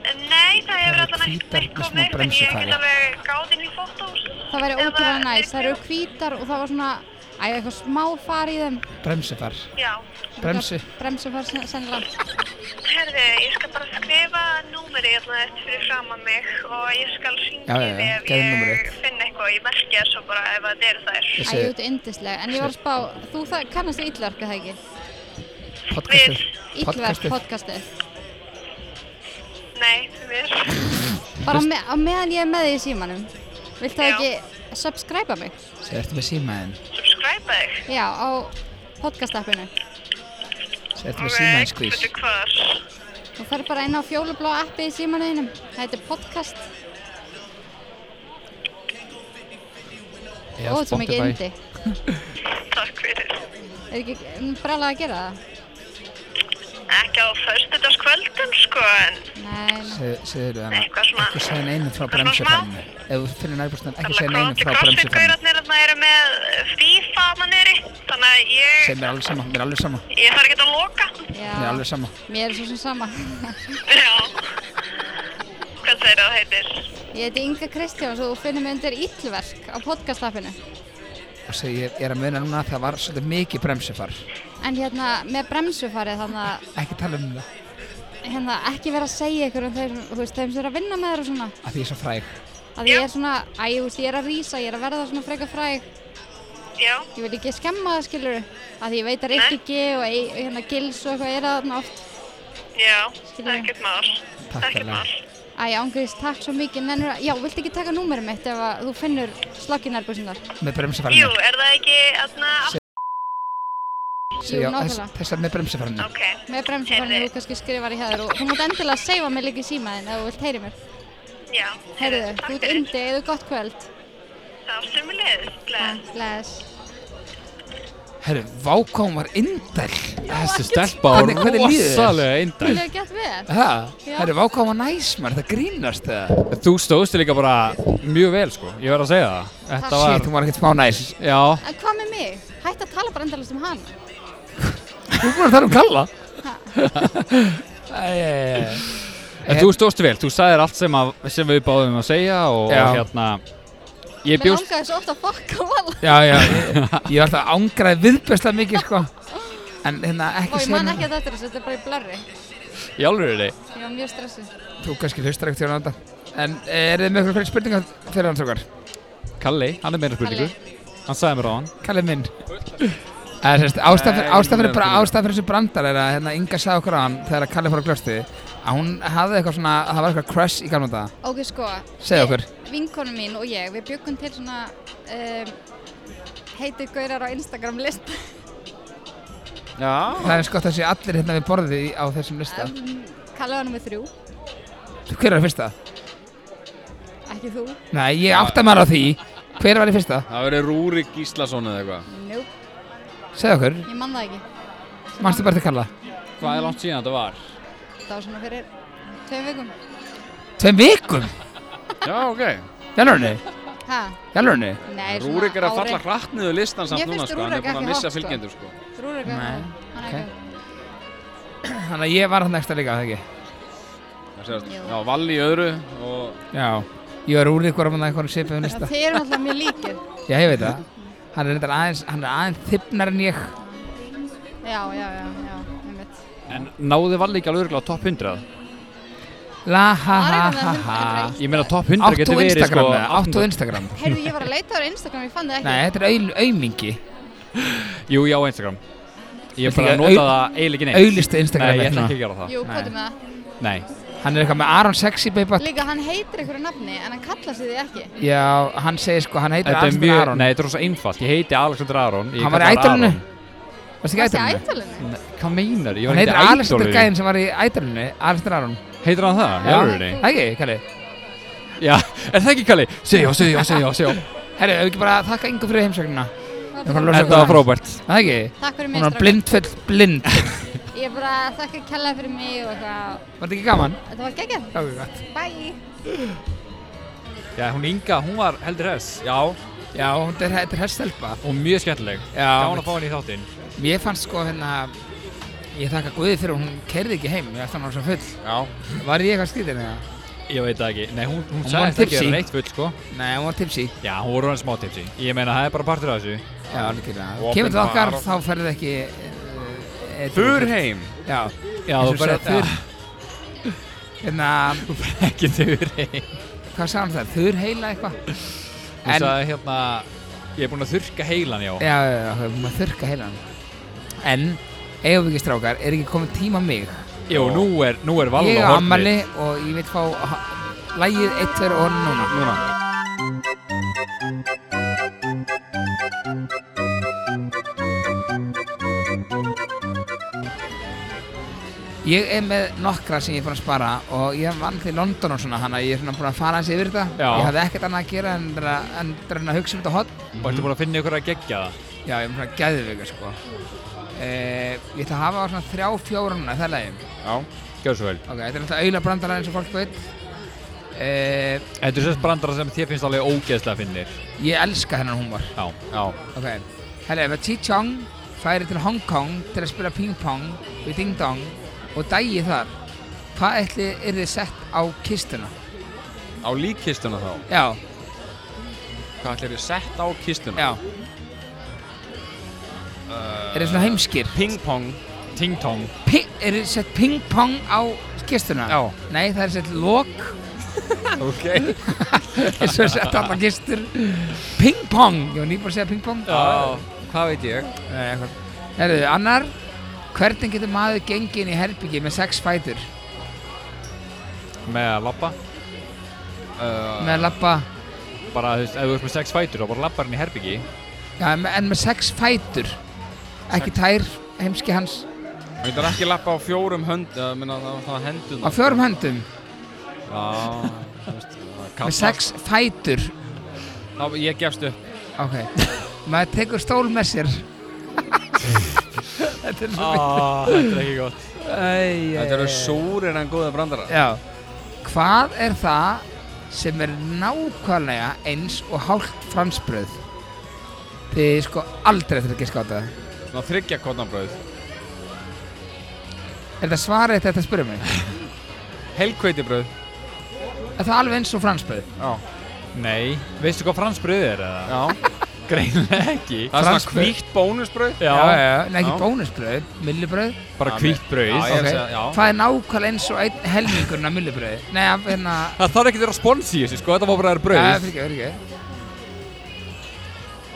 Nei, það hefur eru alltaf hvítar með ekki neitt smá komið, en ég bremsuþræði. get alveg gáð inn í fótós. það væri ótrúlega næst, það eru hvítar og það var svona, æja, eitthvað smá far í þeim. Bremsi þar. Já, Bremsi. Bremsu far sen- sennilega. herði, ég skal bara skrifa númerið hérna eftir fyrir fram að mig og ég skal Já, syngja já, já, þið ef gefðu númerið ég þitt. finn eitthvað, ég merkja það svo bara ef það eru þær. Þessi Æja, þetta er yndislega, en ég var að spá, þú það kannast við illverk, er það ekki? podcastið. Illverk, Podcastið. podcastið. Nei, því miður. Bara á, me á meðan ég er með því í símanum Vilt það Já. ekki subscribe mig? Segðu, ertu með símaðinn? Subscribe þig. Já, á podcast-appinu Segðu, ertu með símaðinn skvís? veitu hvað? Þú fer bara inn á fjólublá appi í símanuðinum Það heitir podcast Eða og svo mikið Spotify. indi Takk fyrir. Er ekki mm, brjálað að gera það? Ekki á föstudagskvöldum, sko, en Nei, nei. Segðu hana, Eitthvað svona- ekki segja neinu frá eitthvað svona smá. bremsufarinu. Ef þú finnir nærbúrstunum, ekki segja neinu Þannig að frá bremsufarinu. crossfit-gaurarnir þarna eru með FIFA manneri, þannig að Segð ég, mér alveg sama, mér er alveg sama, ég þarf ekki að loka. Já, mér er alveg sama. mér er svo sem sama Já. Hvað segir það heitir? Ég heiti Inga Kristjáns og þú finnir mig undir illverk á podcast-appinu Og segðu, ég er að muna núna að það var svolítið mikið bremsufar. En hérna, með bremsufarið þannig að Ekki tala um það, hérna, ekki vera að segja ykkur um þeim, þú veist, þeim sem er að vinna með þér og svona af því ég er svo fræg. að ég er svona, æ, þú veist, ég er að rýsa, ég er að verða svona frekar fræg Já, ég vil ekki skemma það skilur að ég veit að Nei. Rikki G og, Ey- og hérna Gils og eitthvað er að þarna oft já, Skilja. ekkert mál. Takk Ekkert fyrir. mál. Æ, ángriðs, takk svo mikið, nennur að, já, viltu ekki taka númerið mitt ef að þú finnur slokkinærbusunar? Með Jú, bremsufarinu. er það ekki, aðna, Se- Jú, Segðu, já, þess- nákvæmlega. þessar með bremsufarinu. ok, Með bremsufarnir, Heyrðu. þú kannski skrifar í hæður og þú mátt endilega seifa mig líka í símaðin ef þú vilt heyri mér. já. Heyrðu, þú takk ert fyrir. undi, eða gott kvöld. Það er sumulegð, bless. Bless. Herru, vákváum var indæl. Þessi stelpa var Hvernig- hvernig líður þér? rosalega eindæl Vil ég gett vel? Það? Já. Herru, vákváum var næs, maður, það grínast það. Þú stóðst þér líka bara mjög vel sko Ég verð að segja það Þetta Takk. Ah, Shit, var hún var ekkert smá næs. Já En hvað með mig? Hætt að tala bara endalast um hann. Þú er búin að tala um kalla Æ, æ, æ, æ. En þú stóðst þig vel, þú sagðir allt sem, að, sem við báðum að segja og, Já. og hérna Ég Mér bjóst langaði svo ofta að fokka vala. Já, já, ég, ég var alltaf ángraði viðbjörslega mikið sko En hérna Ó, ekki ég segja man neitt. ekki að þetta er þessu, þetta er bara í blörri. í alveg þig Ég var mjög stressuð. Þú kannski hlustar ekkert hérna á þetta En er þið með eitthvað fyrir spurningar fyrir hans okkar? Kalli, hann er meira spurningu Hann sagði mér á hann Kallið minn Það er sérst, ástæð Nei, fyrir, ástæð fyrir, meira bra- spurningar. ástæð fyrir þessu brandar er að hérna Inga sagði okkur á hann þegar að Kallið fór á glöstu að hún hafði eitthvað svona, að það var eitthvað crush í gamla daga Ok, sko. Segðu okkur. Vinkonum mín og ég, við bjökkum til svona um, heitið gaurar á Instagram lista. Já Það er skott að sé allir hérna við borðið í- á þessum lista Um, Kallaði hann með þrjú, Hver var í fyrsta? ekki þú. Nei, ég átta maður á því Hver var í fyrsta? Það verið Rúrik Gíslason eða eitthvað Nope, Segðu okkur, ég man það ekki. mannstu bara til Kalla? Hvað er langt síðan þetta var? Það var svona fyrir tveim vikum. Tveim vikum? Já, ok Jálurni? Ha? Jálurni? Nei, svona Rúrik er að ári- falla hratt niður listan samt Mér núna finnst sko Hann Rúrik er búinn ekki að missa hot, sko. fylgjendur sko Rúrik er Nei, að hann er ok. ekki. Þannig að ég var hann ekstra líka, þegar ekki? Það sést, Jú. Já, Valli í öðru og Já. Ég var úr ykkur á hann eitthvað svipið Það um lista. þeir eru alltaf mjög líkir. Já, ég veit það. Hann er reyndar aðeins, hann er aðeins þippnar en ég. Já, já, já, já, einmitt. En náði Valli ekki alveg örugglega á topp 100? La ha Það er ha eitthvað ha með ha. hundra Ég meina topp 100 Áttu á getur verið Instagram sko eða? Áttu á Instagram? Heyrðu, ég var að leita á Instagram, ég fann það Nei, ekki. þetta er au- aumingi. Jú, já, Instagram Viltu Ég bara ekki nota au- það eiginlega ekki neitt Auðlistu Instagram Nei, ég eitt ætla núna. ekki að gera það Jú, kvotum með það. Nei Hann er eitthvað með Aron Sexy Baby. Líka, hann heitir einhverju nafni, en hann kallar sig því ekki. Já, hann segir sko, hann heitir Þetta er Alexander mjög, Aron. nei, þetta er rosa einfalt, ég heiti Alexander Aron ég Hann var í kalla ædolinu. Aron. Varstu Það ekki sé ædolinu? ættalunni. Nei, Hvað meinar, ég Hann var heitir ekki Alexander ædolinu Gæðin sem var í ædolinu, Alexander Aron. Heitir hann það, Já. jálfurinni Það ekki, Kalli? Já, er það ekki Kalli? Segja, segja, segja, segja Herru, hefur ekki bara að þakka yngur fyrir heimsögnina? Þetta var frábært Það ekki? Takk fyrir mig, Hún var strákar. blindfull, blind. Ég er bara að þakka kella fyrir mig og eitthvað. Var þetta ekki gaman? Þetta var geggjað. Já, ekki gott. Bye! Já, hún Inga, hún var heldur hess Já Já, þetta er, þetta er hestelpa. Og mjög skemmtileg Já. Gáðan að fá henni í þáttinn Mér fannst sko hérna, ég þakka Guði fyrir að hún kerði ekki heim, ég ætti hann að vera svo full. Já, Var ég eitthvað skýtin eða? Ég veit það ekki Nei, hún, hún, Hún hún var sagði þetta tipsy. ekki reitt full, sko Nei, hún var tipsi. Já, hún voru hann smá tipsi Ég meina, það er bara partur af þessu Já, algjörlega. Opin Kemur til okkar, bar. þá ferðu ekki... eh, eh, Fur heim Já, Já, Eins þú og bara sagði þurr. hérna, Ekki þurr heim hvað sagði hann það? Þur heila eitthvað? Hún sagði hérna Ég er búin að þurrka heilan, já Já, já, já, við maður þurrka heilan En, eigum við ekki strákar, er ekki komið tíma á mig Jú, nú er, nú er Valla Ég á horfnið. ammali og ég vil fá ha- Lagið eitt fyrir orðin núna Núna Ég er með nokkra sem ég er búin að spara og ég vann til London og svona hana ég er svona búin að fara hans yfir þetta Já. Ég hafði ekkert annað að gera en bara en bara að hugsa um þetta hot Og ertu búin að finna ykkur að gegja það Já, ég er búin að geðvika sko eh, Ég ætla að hafa á svona þrjá fjóra núna, það er lagið Já, Gjör svo vel Ok, þetta er náttúrulega auðla brandarar eins og fólk veit eh, Þetta er sérst brandara sem þér finnst alveg ógeðslega finnir Ég elska hennan húmor Já já Ok, herri, ef að Chi Chong færi til Hong Kong til að spila ping pong við Ding Dong og dægi þar, hvað ætli er þið sett á kistuna? Á líkkistuna þá Já, Hvað ætlir ég sett á kistuna? já. er þið Eh. svona heimskir? Ping pong Ting tong Ping, er þið sett ping pong á kistuna? Já. Nei, það er sett lok Ok eins og sett alla kistur. Ping pong, ég var nýbúin að segja ping pong. Já, hvað veit ég? Nei, eitthvað. Herðu, annar, hvernig getur maður gengið inn í herbyggi með sex fætur? Með að labba Uh, Með að labba, Bara, þú veist, ef þú ert með sex fætur þá bara labbar hann í herbyggi já, en með- en með sex fætur, ekki tær, heimski hans. Mér þarf ekki lappa á fjórum hönd uh, minna, það, það hendum Á fjórum höndum, Já, þú veist það með kallast- sex fætur Þá, Ég gefst upp Ok, maður tekur stól með sér Þetta er svo Ah, þetta er ekki gott Æ, Þetta eru súrir en góða brandarar Já Hvað er það sem er nákvæmlega eins og hálft fransbröð? Þið sko aldrei þurfa að giska á þetta Svona þryggja kotnabröð Er það svarið þetta þetta spyrir mig? Helkveitibröð Er það alveg eins og fransbröð? Já Nei, veistu hvað fransbröð er eða? Já Greinlega ekki Það er svona Franskbrauð. kvíkt bónusbröð Já, já, já Nei, ekki Já. bónusbröð, millubröð bara Já, hvítt brauð Já, ég er að Ok. segja, já Hvað er nákvæmlega eins og einn helmingurinn af millubröði? Nei, af hérna Það þarf ekki að vera spons í þessu sko, þetta má bara vera brauð Nei, fyrir ekki, fyrir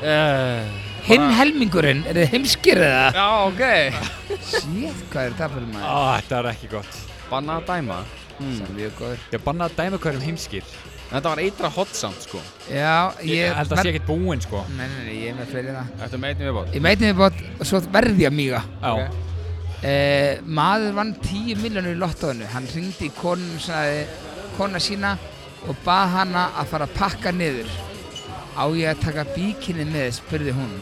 ekki uh, Hinn helmingurinn, er þið heimskir eða? Já, ok Sétt, hvað er það fyrir maður? Mm. ah, Þetta er ekki gott Banna að dæma Það er mjög góður. Ég banna að dæma hverjum um heimskir Þetta var eitra hotsamt sko Já, ég... Ég held að það sé ekkert búinn sko Nei, nei, nei, ég er með fleiri en það. Þetta með einnig viðbót Ég meitin við bótt og svo verði ég að míga. Já, Ok. Eh, maður vann 10 miljonur í lottóinu. Hann ringdi í konun, sagði, kona sína og bað hana að fara að pakka niður. Á ég að taka bíkinni með, spurði hún.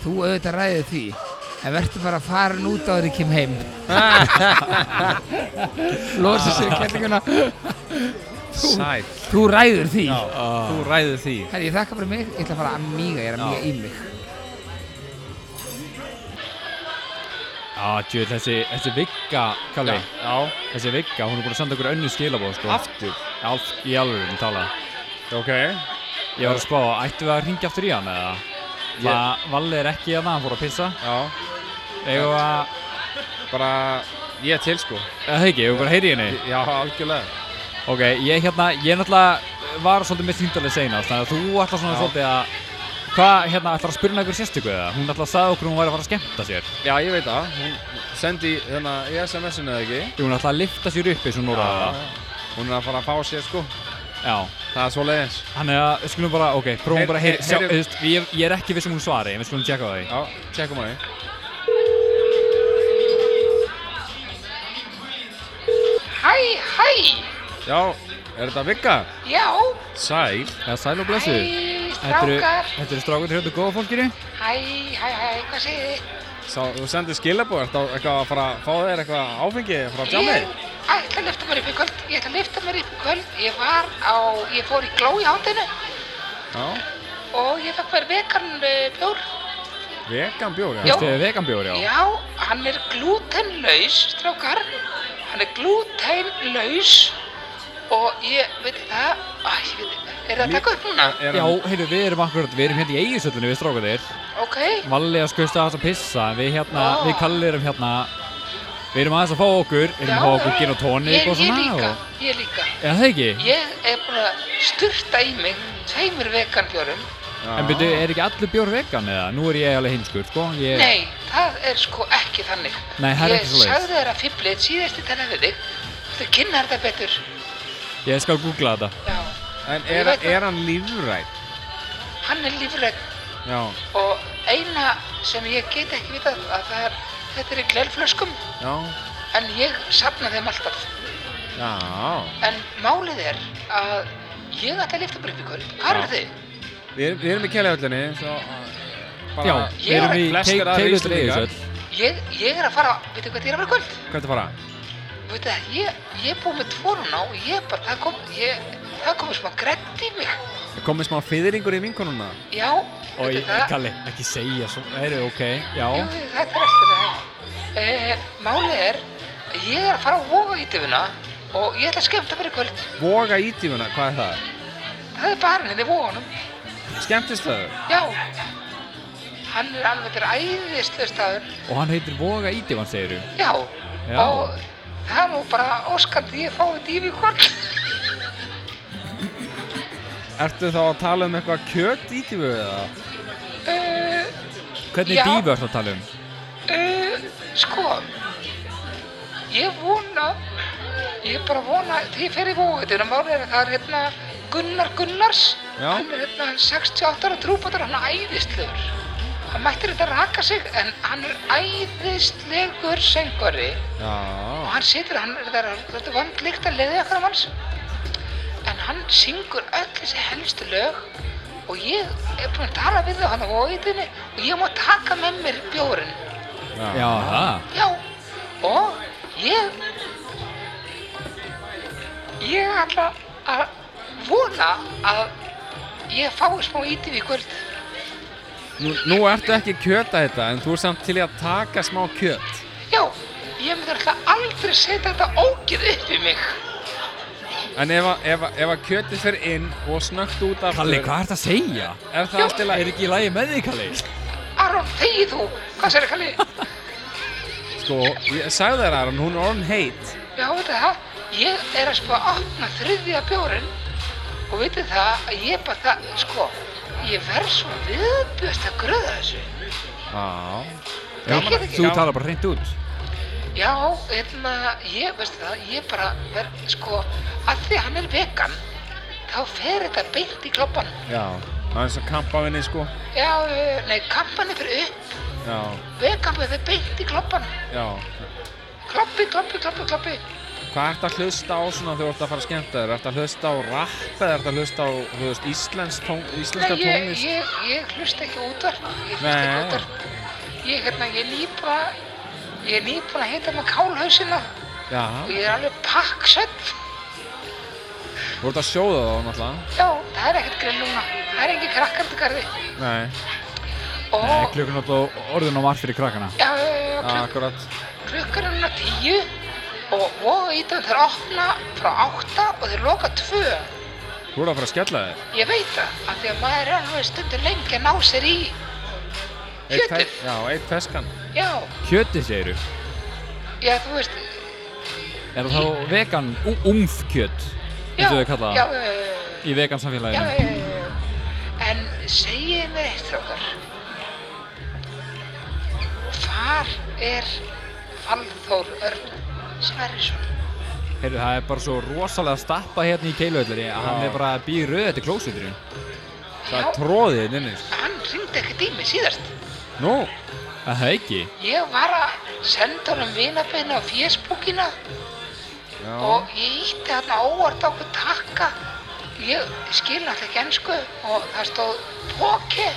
Þú auðvitað ræðið því, en verður bara að fara nú út á þeirri kem heim. Losa sér kellinguna. Sæl Þú ræður því. Já. Þú ræður því Herri, ég þakka fyrir mig, ég ætla að fara að míga, ég er að míga í mig. ah, djú, þessi, þessi vikka, Kalli Já Þessi vikka, hún er búin að senda okkur önnu skilabóð sko Aftur Alf, í alveg, hún tala Ok Ég var að spá, ættum við að ringja aftur í hann eða? Ég- Yeah. Valli er ekki að það, hann fór að pissa Já Eða að, Bara Ég er til sko eða ekki, ég var bara að heyri henni Já, algjörlega Ok, ég hérna, ég náttúrulega var svolítið með síndaleg seinast, þannig að þú ætlar svona Já. svolítið að Hvað, hérna, ætlar að spyrna ykkur sérstöku eða? Hún ætlar að sagði okkur að hún væri að fara að skemmta sér Já, ég veit það Hún sendi hérna í SMS-inu eða ekki Jú, hún ætlar að lifta sér upp eins og hún orðaði það Hún er að fara að fá sér sko Já, Það er svo leiðins þannig að, við skulum bara, ok, prófum Heyr- bara að heyra heyr- sjá, heyrum- þú veist, ég, ég er ekki viss um hún svari, við skulum tjekka á því Já, tjekkum hann Hæ, hæ, Já, er þetta Vigga? já, Sæl Já, sæl og blessuð hæ, Þetta eru, Strákar. þetta eru strákur til hérna góða fólkinu. Hæ, hæ, hæ, hvað segir þið? Sá, þú sendir skilabúð, ert á eitthvað að fara að fá þér eitthvað áfengi frá tjámið? Ég ætla að lifta mér upp í kvöld, ég ætla að lifta mér upp í kvöld. Ég var á, ég fór í gló í hátinu Já, og ég fekk mér vegan uh, bjór. vegan bjór, já. Jó. Þetta er veganbjóri á. Já, hann er glútenlaus, strákar. Hann er glútenlaus og ég, veit það, æ, ég veit, er það að taka upp núna? Er Já, hann- heyrðu, við erum akkurat, við erum hérna í eigisöllinu við strákarnir. Ok, Valli að skusta aðeins að pissa, en við hérna, Ó. við kallir erum hérna, við erum aðeins að fá okkur, við erum að fá okkur gin og ég, tónik og ég svona. líka, og- ég líka. Er það ekki? Ég er búin að styrta í mig tveimur veganbjórum. Já. En byrju, er ekki allur bjór vegan eða? Nú er ég alveg hinskur, sko. Ég, Nei, það er sko ekki þannig. Nei, það er ekki svoleiðis. Ég sagði þér að fiblit síðast í talaði við þig. Þú kynnar þetta betur. Ég skal googla þetta. Já, En Ég er, veit það. er hann lífrætt? hann er lífrætt Já, og eina sem ég get ekki vitað að það er, þetta er í glelflöskum já, en ég sapna þeim alltaf. já. En málið er að ég ætla að lifta bara upp í kvöld. Hvað Já. er þið? Við erum, við erum í kjælihöllinni, svo uh, bara... Já, við erum í Flestir Keil- aðrir Keilhöllinni í Íslendingar. Eiríksöll. Ég, ég er að fara, veitu hvað ég er að fara í kvöld? Hvað ertu að fara? Veitu það, ég, ég er búið með tvo núna og ég er bara, það kom, ég, það komið smá grænt í mig. Er komið smá fyrringur í vinkonuna? Já, Og veitu ég, Kalli, ekki segja svona, heyrðu, ok, Jú, já. jú, þetta er eftir það. E, málið er að ég er að fara á voga í divuna og ég ætla að skemmta mér í kvöld. Voga ítífuna, hvað er það? Það er barinn hérna í voganum. Skemmtistöður? Já, hann er alveg til æðislega staður. Og hann heitir Voga Ídivan, segir þú. Já, Já. og það er nú bara óskandi ég fái divu í kvöld. Ertu þá að tala um eitthvað kjöt ítífu eða? E, Hvernig Já. dífu ertu að tala um? e, sko, ég vona, ég bara vona, því ég fer í voga í divuna, málið er að það er hérna Gunnar Gunnars. Já, Hann er hérna 68 ára trúbátur, hann er æðislegur. Hann mættir þetta raka sig, en hann er æðislegur söngvari. Og já, hann situr, hann er þetta, þetta vandlíkt að leiði okkar um hans. En hann syngur öll þessi helstu lög og ég er búinn að tala við þau hann á vóiðinni og ég má taka með mér bjórinn. Já, það. Já, og ég, ég ætla að vona að ég fái smá ítiv í kvöld. Nú, nú ertu ekki kjöt að þetta, en þú er samt til í að taka smá kjöt. Já, ég myndi alltaf aldrei setja þetta ógið upp í mig. En ef, að- ef, að- ef að kjötið fer inn og snögt út aftur, Kalli, hvað ertu að segja? er það allt í lagi? Er ekki í lagi með þig, Kalli? Aron, þegi þú, hvað sér Kalli? Sko, ég sagði þér Aron, hún er orðin heit. Já, veitu það, ég er að spá að opna þriðja bjórinn og veitu það að ég bara það, sko, ég verð svo viðbjöðst að gröða þessu. Já. Gaman að- Þú talar bara hreint út. Já, hérna, ég, veistu það, ég bara verð, sko, að því hann er vegan, þá fer þetta beint í kloppan. Já, það er eins og kampavinni, sko. Já, eh, nei, kampan er fyrir upp, Já, vegan fyrir beint í kloppan. já. Kloppi, kloppi, kloppi, kloppi. Hvað ert að hlusta á svona þegar þú ert að fara að skemmta þér? Ert að hlusta á rapp eða ert að hlusta á, þú veist, íslensk tón, íslenska Nei, ég, tónlist? ég, ég hlusta ekki á útvarp, ég hlusta Nei. ekki á útvarp. Ég, hérna, ég er nýpa, ég er nýpa að heita með kálhausina og Já, ég er alveg pakksöld. þú ert að sjóða þá náttúrulega. Já, það er ekkert grill núna, það er engin krakkardugarði. Nei, Og, Nei, klukkan átt og orðin á margt fyrir krakkana. já, já, já, já, klukk, akkurat. klukkan er núna tíu og voga ítum þeir opna frá átta og þeir loka tvö. Þú ert að fara að skella þér. Ég veit það, af því að maður er alveg stundur lengi að ná sér í Eitt fe- kjötið. Já, eitt feskan. Já, Kjötið, segir þú. já, þú veist, Er það þá vegan, umfkjöt, já, getur við kallað já, það, já, já, já. í vegan já, samfélaginu. já, já, já. En segið mér eitt strákar. Hvar er Valþór Örn Sverrisson? Heyrðu, það er bara svo rosalega stappa hérna í keiluhöllinni að hann er bara að býja rauð eftir klósiturinn. Það er tróðið inn inni. Hann ringdi ekkert í mig síðast. Nú, Er það ekki? Ég var að senda honum vinabeina á Facebookina já. og ég ítti hann óvart á okkur takka ég skil náttúrulega ekki ennsku og það stóð póke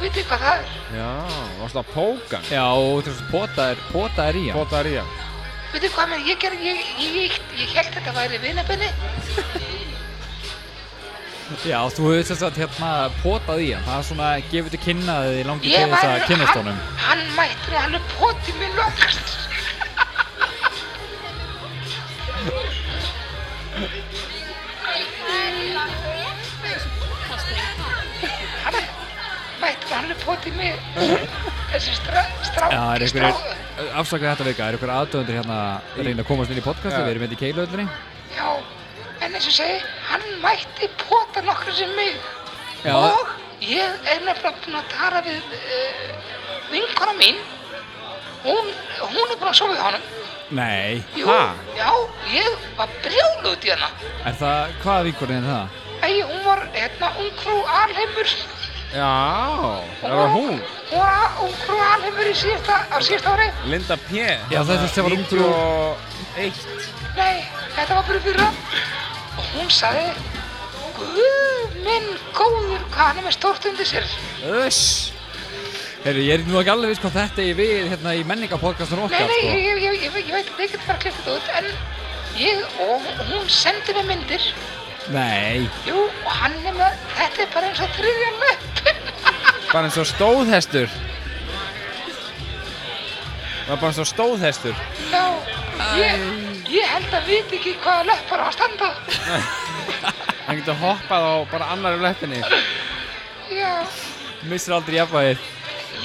veit þið hvað það er Já, varstu að póka hann? Já, og þú veist, pota er, pota er í hann. Pota er í hann. veit þið hvað mér ég gerði ég, ég, ég, ég held þetta væri vinabenni Já, þú hefur þess að hérna potað í hann. Það er svona, gefur til kynna að þið langi til ég þess að kynnast hann, honum. hann mætti nú alveg póti mér lokast hann mætti nú alveg póti mér þessi strá, strá, Já, það er strá einhverjir, afsakaði þetta vika, það er einhverjir aðdöfundir hérna að reyna að komast inn í podcasti, Já. við erum hérna í keiluhöllinni. já en eins og ég segi hann mætti póta nokkru sem mig Já. og ég er nefnilega búin að tala við uh, vinkona mín hún, hún er búin að sofa hjá honum Nei. Jú, Ha? já, ég var brjálu út í hana Er það, hvaða vinkurinn er það? Æ, hún var hérna ungfrú alheimur Já, er það hún? Hún var ungfrú alheimur í síðasta, á síðasta ári Linda P. Hérna, Já, þetta er sem var ungfrú- 91. Nei, þetta var bara í fyrra Og hún sagði Guð minn góður hvað hann er með stórt undir sér Öss! Heyrðu, ég er nú ekki alveg viss hvað þetta er við hérna í menningapodcastun Nei, okkar, nei, sko. ég, ég, ég, ég, ég veit að ég get bara klippið þetta út En ég, og hún sendi mér myndir sko. Nei. Jú, og hann er með, þetta er bara eins og þriðja löpun Bara eins og stóðhestur. Það var bara eins og stóðhestur. Já, ég, ég held að viti ekki hvaða löppar á að standa Hann getur hoppað á bara annar um leppinni. Já, Missir aldrei jafnvægið.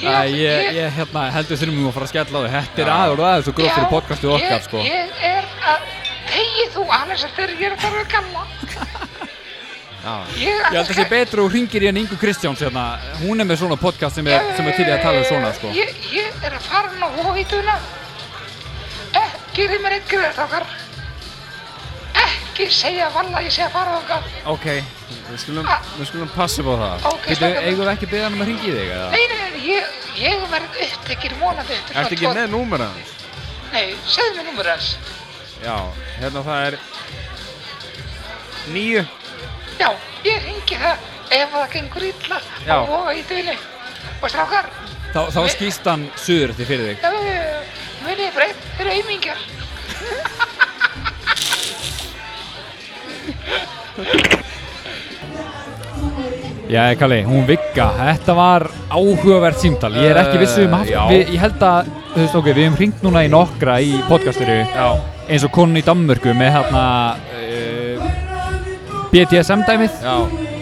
Æ, já, ég, ég hérna, heldur þurfum við að fara að skella á þau. Þetta er aður og aður svo gróf fyrir já, podcastu okkar, ég- sko. Ég er að, tegi þú annars að þegar ég er að fara að gamla. Já. Ég, Ég held að það sé betra og hringir í hann Ingu Kristjáns hérna. Hún er með svona podcast sem er, sem er til í að tala um svona, sko. Ég, ég er að fara inn á hóðituna. Ekki þið mér eitt greiðar þokkar. Ekki segja valla ég sé að fara þokkar. Ok, við skulum, við skulum passa upp á það. Ok, Býtu, slaka eigum mér. við ekki að beða hann um að hringi í þig, eða? Nei, nei, nei, ég, ég verð upptekir vonandi eftir Ertu ekki með númur hans? tvo- Nei, segðu mér númur hans. Já, hérna það er... Níu. Já, ég ringi það ef það gengur illa Já. á hóðitunni. Og strákar, Þá, þá skýst hann suður eftir fyrir þig. Já, já, já, já. Munið breytt, þeir eru aumingjar. Já, Kalli, hún vigga. Þetta var áhugavert símtal. Ég er ekki vissið um haft. já. Við, ég held að, þú veist okkur, við hefum hringt núna í nokkra í podcastinu. Já. Eins og konun í Danmörku með hérna uh, BDSM-dæmið. Já.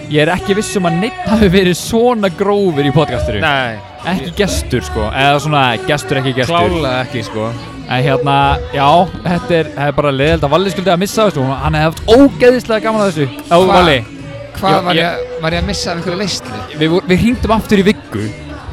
Ég er ekki viss um að neitt hafi verið svona grófur í podcastinu. Nei. Ekki gestur, sko. Eða svona, gestur, ekki gestur. Klálega ekki, sko. En hérna, já, þetta er, það er bara leðild að Valli skuldi að missa þessu. Hún- Hann hefði haft ógeðislega gaman að þessu. Já, Hva- Valli. Hvað Já, var ég- ég, að- var ég að missa af einhverju leyslu? Við, vor- við hringdum aftur í Viggu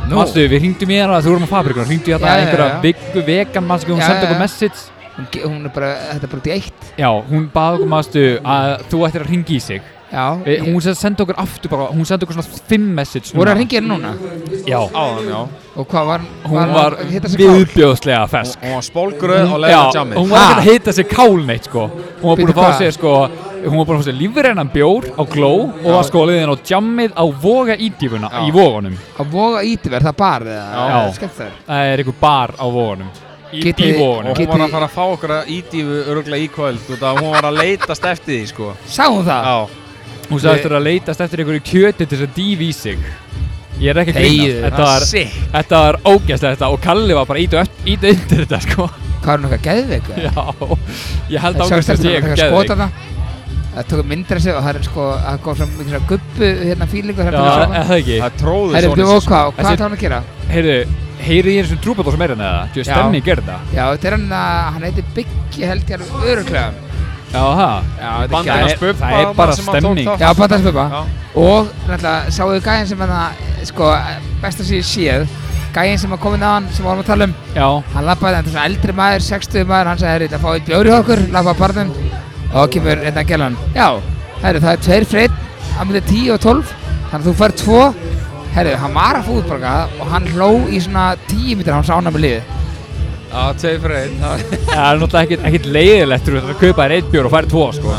Nú. Manstu, við hringdum í hana, þú vorum á fabrikuna Hringdum í hana Já, já, einhverja já. Viggu vegan, manstu, hún Já, sendi já, okkur já. message Hún, ge- hún er bara, þetta er bara út í eitt. Já, hún baði okkur, manstu, að þú ættir að hringi í sig Já, við, Hún sem sendi okkur aftur bara, hún sendi okkur svona fimm message voru að ringja hérna núna? hringi Já, Áðan, já. Og hvað var, hún var hitta sig klár? viðbjóðslega fesk Hún var spólgröð og Já, leiði á jammið. hún var ekkert Ha? að hita sér kál neitt sko Hún var búin Bíddu, að fá hvað? sér sko Hún var búin að fá sér lífrennan bjór á gló Og var sko leiðin á jammið á voga ídýfuna Já. Í vogunum Að voga ítiverð, það bar eða? Já. Skemmt það er. Það er einhver bar á vogunum Í, í Getið- vogunum Og hún Getið- var að fara að fá okkur að ídýfu öruglega í kvöld út af að hún var að leitast eftir því sko Sáum það? Já, Hún sagðist þér að leitast eftir einhverju kjöti til þess að dýfi í sig Ég er ekki að grínast Þegiðu, Þetta var, sick þetta var ógæslega þetta og Kalli var bara ít og ít undir þetta sko Hvað er hún eitthvað geðveik? eða? Já Ég held Það ákvæmst að sé stelpurnar, taka eitthvað geðveik skotana. Það tók myndir af sig og það er sko, það kom svona mikið svona gubbu hérna fílingu Já, hérna er saman. það ekki Það er tróðu Herri, svona bjó, og hvað, og hvað Þessi- ætla hann að gera? Heyrðu, heyrðu ég eins og trúbadór sem er hérna eða? Þú veist, Já. stemning gerði það Já, þetta er hann að, hann heitir Biggi held ég alveg öruglega. Já, það Já, þetta er það Bandina er- gæði. spubba það er bara stemning. Já, bara að spupa. Já. Og, náttúrulega, sáuðu gæðin sem hann að, sko, best að séu séð, gæðin sem að komin að hann, sem við vorum að tala um, Já, hann lappaði, þetta er svona eldri maður, 60 maður, hann sagði, herri, það fáið bjóri hjá okkur, lappaði barnum, og þá kemur hérna gælan. Já, herri, það er tveir freyt, hann myndi 10 og 12, þannig að þú fær tvo, herri, hann var að fúðbarga og hann hló í svona 10 mítur, hann sána með liðið. Já, tveið fyrir einn Það- það er náttúrulega ekkit, ekkit leiðilegt þú veist, að kaupa þér eitt bjór og færi tvo sko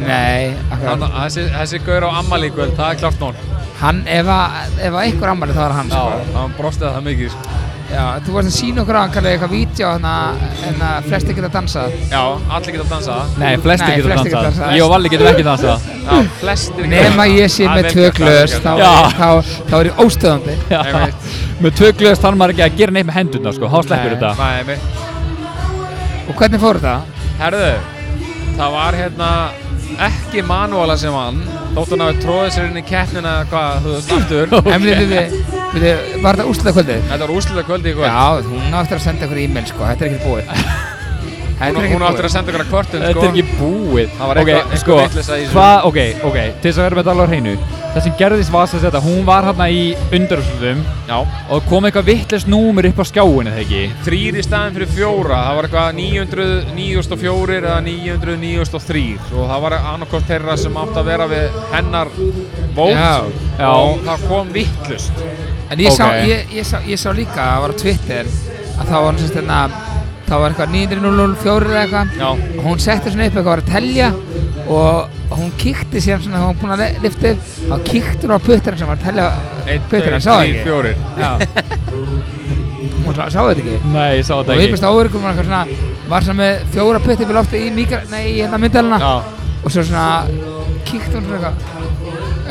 Nei, Nei, akkurat. Þannig að þessi, þessi gaur á ammalíkvöld, það er klart nón. Hann, ef að, ef að einhver ammali þá er hann Já, sko. hann brostið það mikið, sko. Já, þú varst að sína okkur á hann kallega eitthvað vídeo hann að, en að flesti geta dansað. Já, allir geta dansað. Nei, flestir Nei, getur flestir geta dansað dansað. Ég og Valli getum ekki dansað Já, flestir geta Nefn að dansað. ég sé Það er með vel tvö gert, það er glös, vel þá, gert. Já. þá, þá, þá er ég óstöðandi. Já. Einmitt. Með tvö glöðs þannig maður ekki að gera neitt með hendurna sko, þá sleppur Nei. þetta Nei, einmitt. Og hvernig fór þetta? Herðu, það var hérna ekki manúala sem vann, þótt hann hafi tróðið sér inn í keppnina, hvað, þú veist, aftur. En við, við, við, var þetta úrslæða kvöldið? Þetta var úrsluta kvöldi í kvöld. Já, hún áttur að senda okkur e-mail sko, þetta er ekkert búið. Þetta Hún, er hún ekkert búið. áttur að senda ykkur að kvörtun, sko. Þetta er ekki búið Það var Ok, eitthvað- eitthvað sko, vitleysa í þessu. hvað- Ok, ok, til þess að vera með þetta alveg á hreinu Það sem gerðist var sem þetta, hún var hérna í undarúslutum Já. og kom eitthvað vittlust númur upp á skjáinu þegar ekki Þrýr í staðin fyrir fjóra, það var eitthvað 904 eða 903 og það var annarkort þeirra sem átt að vera við hennar vót Já, já. og það kom vittlust. En ég, sá, Ok. ég, ég, sá, ég sá líka, það var á Twitter, að það var hann sérst hérna, það var eitthvað 9004 eða eitthvað. Já. Og hún setti svona upp eitthvað var að telja og hún kíkti síðan svona, hún var búin að le- lyfta upp, þá kíkti hún á puttarinn sem var að telja puttarinn, sá það ekki? fjórir. Já. Hún sá, sá þetta ekki? Nei, ég sá Og þetta ekki ég finnst áverkum var eitthvað svona, var svona með fjóra putti fyrir lofti í mikra, nei, í hérna myndalina Já. og svo svona kíkti hún svona eitthvað.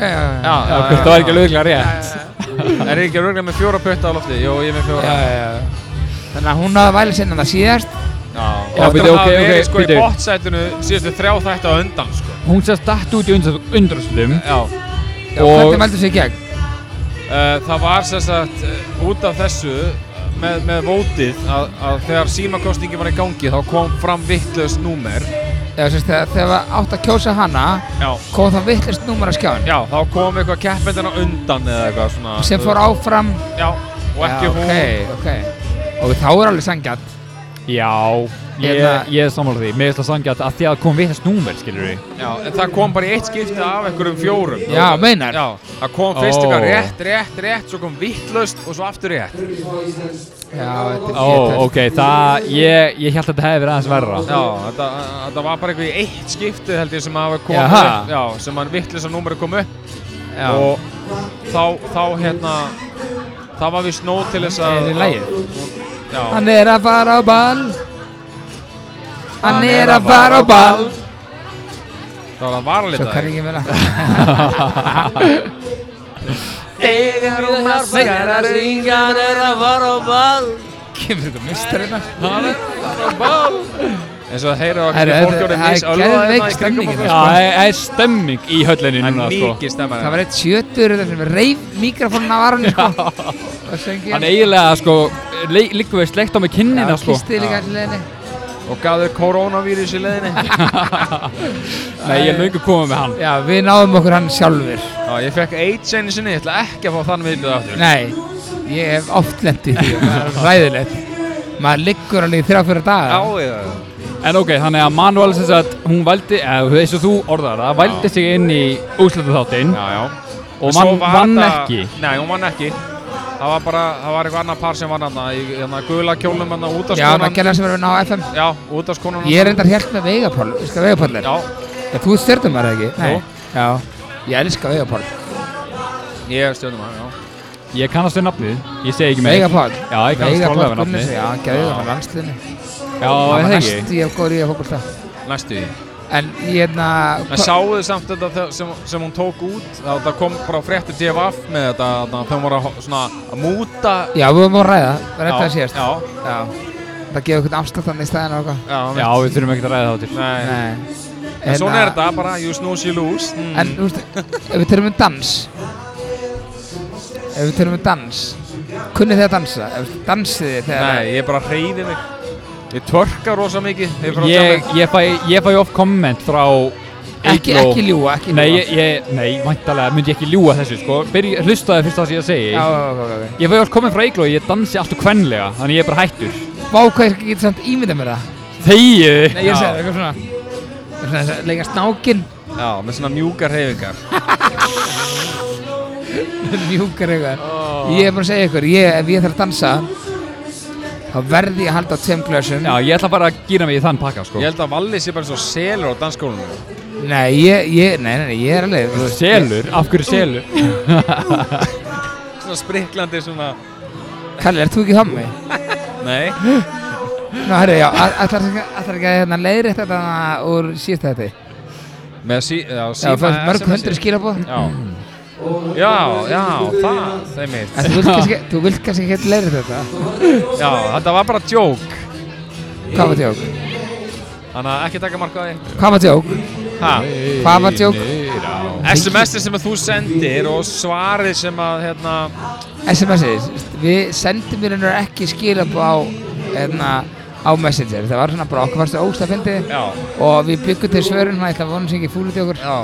Já, já, já. Já, Já, hvort það var ekki lögulega rétt Er ég ekki að rögna með fjóra pötta á lofti? Jó, ég er með fjóra. Já, já, já. Þannig að hún náði væli sinna það síðast Já, Já, og bíddu, þetta hafa ok, verið ok, sko í bíddu. bottsætinu síðustu þrjá þætti á undan, sko. Hún sérst datt út í undarúslutum Já. Já, Og- hvernig meldur sig í gegn? Uh, það var sem sagt uh, út af þessu uh, með, með vótið að, að þegar símakostingi var í gangi þá kom fram vittlust númer Já, sérst, þegar, þegar var átt að kjósa hana Já. kom það vittlist númur á skjáin Já, þá kom eitthvað keppendin á undan eða eitthvað svona sem fór áfram Já, og ekki Já, hún ok, ok Og þá er alveg sangjart Já, ég, Hérna- ég er sammála því Mér finnst það sangjað að því að kom vittlust númer, skilur við Já, en það kom bara í eitt skipti af einhverjum fjórum Já, meinar Já, það kom fyrst Ó. eitthvað rétt, rétt, rétt, svo kom vittlust og svo aftur rétt Já, þetta er Ó, ok, það, ég, ég held að þetta hefði verið aðeins verra Já, þetta, þetta var bara eitthvað í eitt skipti held ég sem hafa komið Jaha. upp, já, sem hann vittlis að númerið kom upp já. og þá, þá hérna það var við snó til þess að Er í lagið? Já, Hann er að fara á ball Hann er að fara á ball það var að vara Svo lita kann ég ekki meina Þegar hún maskar að ringa Kemur þetta mistarina hann er bara bál eins og það heyrðu að Herru, fólk þetta- voru það er misölvað geðveik hérna í kringum stemning okkur, Já, hérna, sko. það er- það er stemming í höllinni Það er núna, sko mikið stemma Það var eitt sjötur þetta sem reif mikrofónun af varunni sko Og söngi Hann eiginlega, sko, líka við slegt á með kinnina, sko Kisti líka allir leðinni og gafður koronavírus í leiðinni Nei, ég er löngu komið með hann Já, við náðum okkur hann sjálfur Já, ég fekk AIDS einu sinni, ég ætla ekki að fá þann viðlið aftur Nei, ég hef oft lent í því og það er ræðilegt Maður liggur alveg í þrjá fyrir daga Já, já, En ok, þannig að Manuel sem sagt, hún valdi, eða eins og þú orðar það, valdi sig inn í úslutu þáttinn já, já. Svo og vann var van þetta- ekki. Nei, hún vann ekki Það var bara, það var eitthvað annað par sem vann hana í hana gula kjólum hana Já, það útaskonan gerði sem verður að ná FM Já, útaskonan Ég er endar hjælt með vegapól, veist hvað vegapól er? Já, Já, Þú stjörnum maður ekki? Jú. Já, ég elska vegapól ég stjórnum hana, já Ég kannast við nafnið, ég segi ekki meir. Vegapól Já, ég kannast skrólega við nafnið. Já, hann gerði það á landsliðinu Já, er það ekki. Næstu ég góður í að fókbalta Næstu því En ég hérna En sáuðu samt þetta þe- sem, sem hún tók út þá Það kom bara fréttir DFF með þetta þarna, Þegar hún var að ho- svona að múta Já, við vorum að ræða, við ræðum það Já, síðast Já, Já Það gefur eitthvað afsláttan í stæðinu og eitthvað já, Já, við þurfum ekkert að ræða það til. Nei, Nei En svona Hérna- er þetta bara, you snooze, you lose mm. En, þú veist, ef við tölum um dans Ef við tölum um dans Kunnið þið að dansa? Ef dansið þið þegar Nei, ég bara hreyfi mig Ég tvörka rosa mikið þegar ég fer á Ég, djammið. ég fæ, ég fæ oft komment frá Ekki, Eygló. ekki ljúga, ekki Nei, ljúga ég, ég, nei, væntalega myndi ég ekki ljúa þessu, sko. Byrj, hlustaði fyrst það sem ég segi. Já, já, já, já, já Ég fæ oft komment frá Egló, ég dansi alltaf kvenlega, þannig ég er bara hættur. Vá, hvað er ekki samt ímynda mér það? Þegið! Nei, ég segi það, eitthvað svona Svona þess að leika snákin Já, með svona mjúkar hreyfingar Mjúkar eitthvað Ég er bara að segja ykkur, ég, ef ég þarf að dansa þá verði ég að halda á tveim glösum Já, ég ætla bara að gýra mig í þann pakka, sko Ég held að Valli sé bara svo selur á dansskólanum Nei, ég, ég, nei, nei, nei, ég er alveg þú veist, Selur? Af hverju selur? Svona spriklandi svona Kalli, ert þú ekki hommi? Nei Nú, herri, já, ætlar ekki ætlar ekki að hérna, leiðri þetta þarna úr síðast þetta Með sí, já, Já, síma fannst mörg SMS-i. hundru skilabóð Já Já, já, það, þeim mitt En þú vilt kannski, þú vilt kannski ekki leiðri þetta Já, þetta var bara djók Hvað var tjók? Þannig að ekki taka markaði Hvað var tjók? Ha, Hvað var tjók? SMS-ið sem að þú sendir og svarið sem að, hérna SMS-ið, við sendum mér hennar ekki skilabóð á, hérna, á Messenger Það var svona bara okkur fannst ógst að fyndi Já, Og við byggum til svörun, það var vonum sem ekki fúlut í okkur já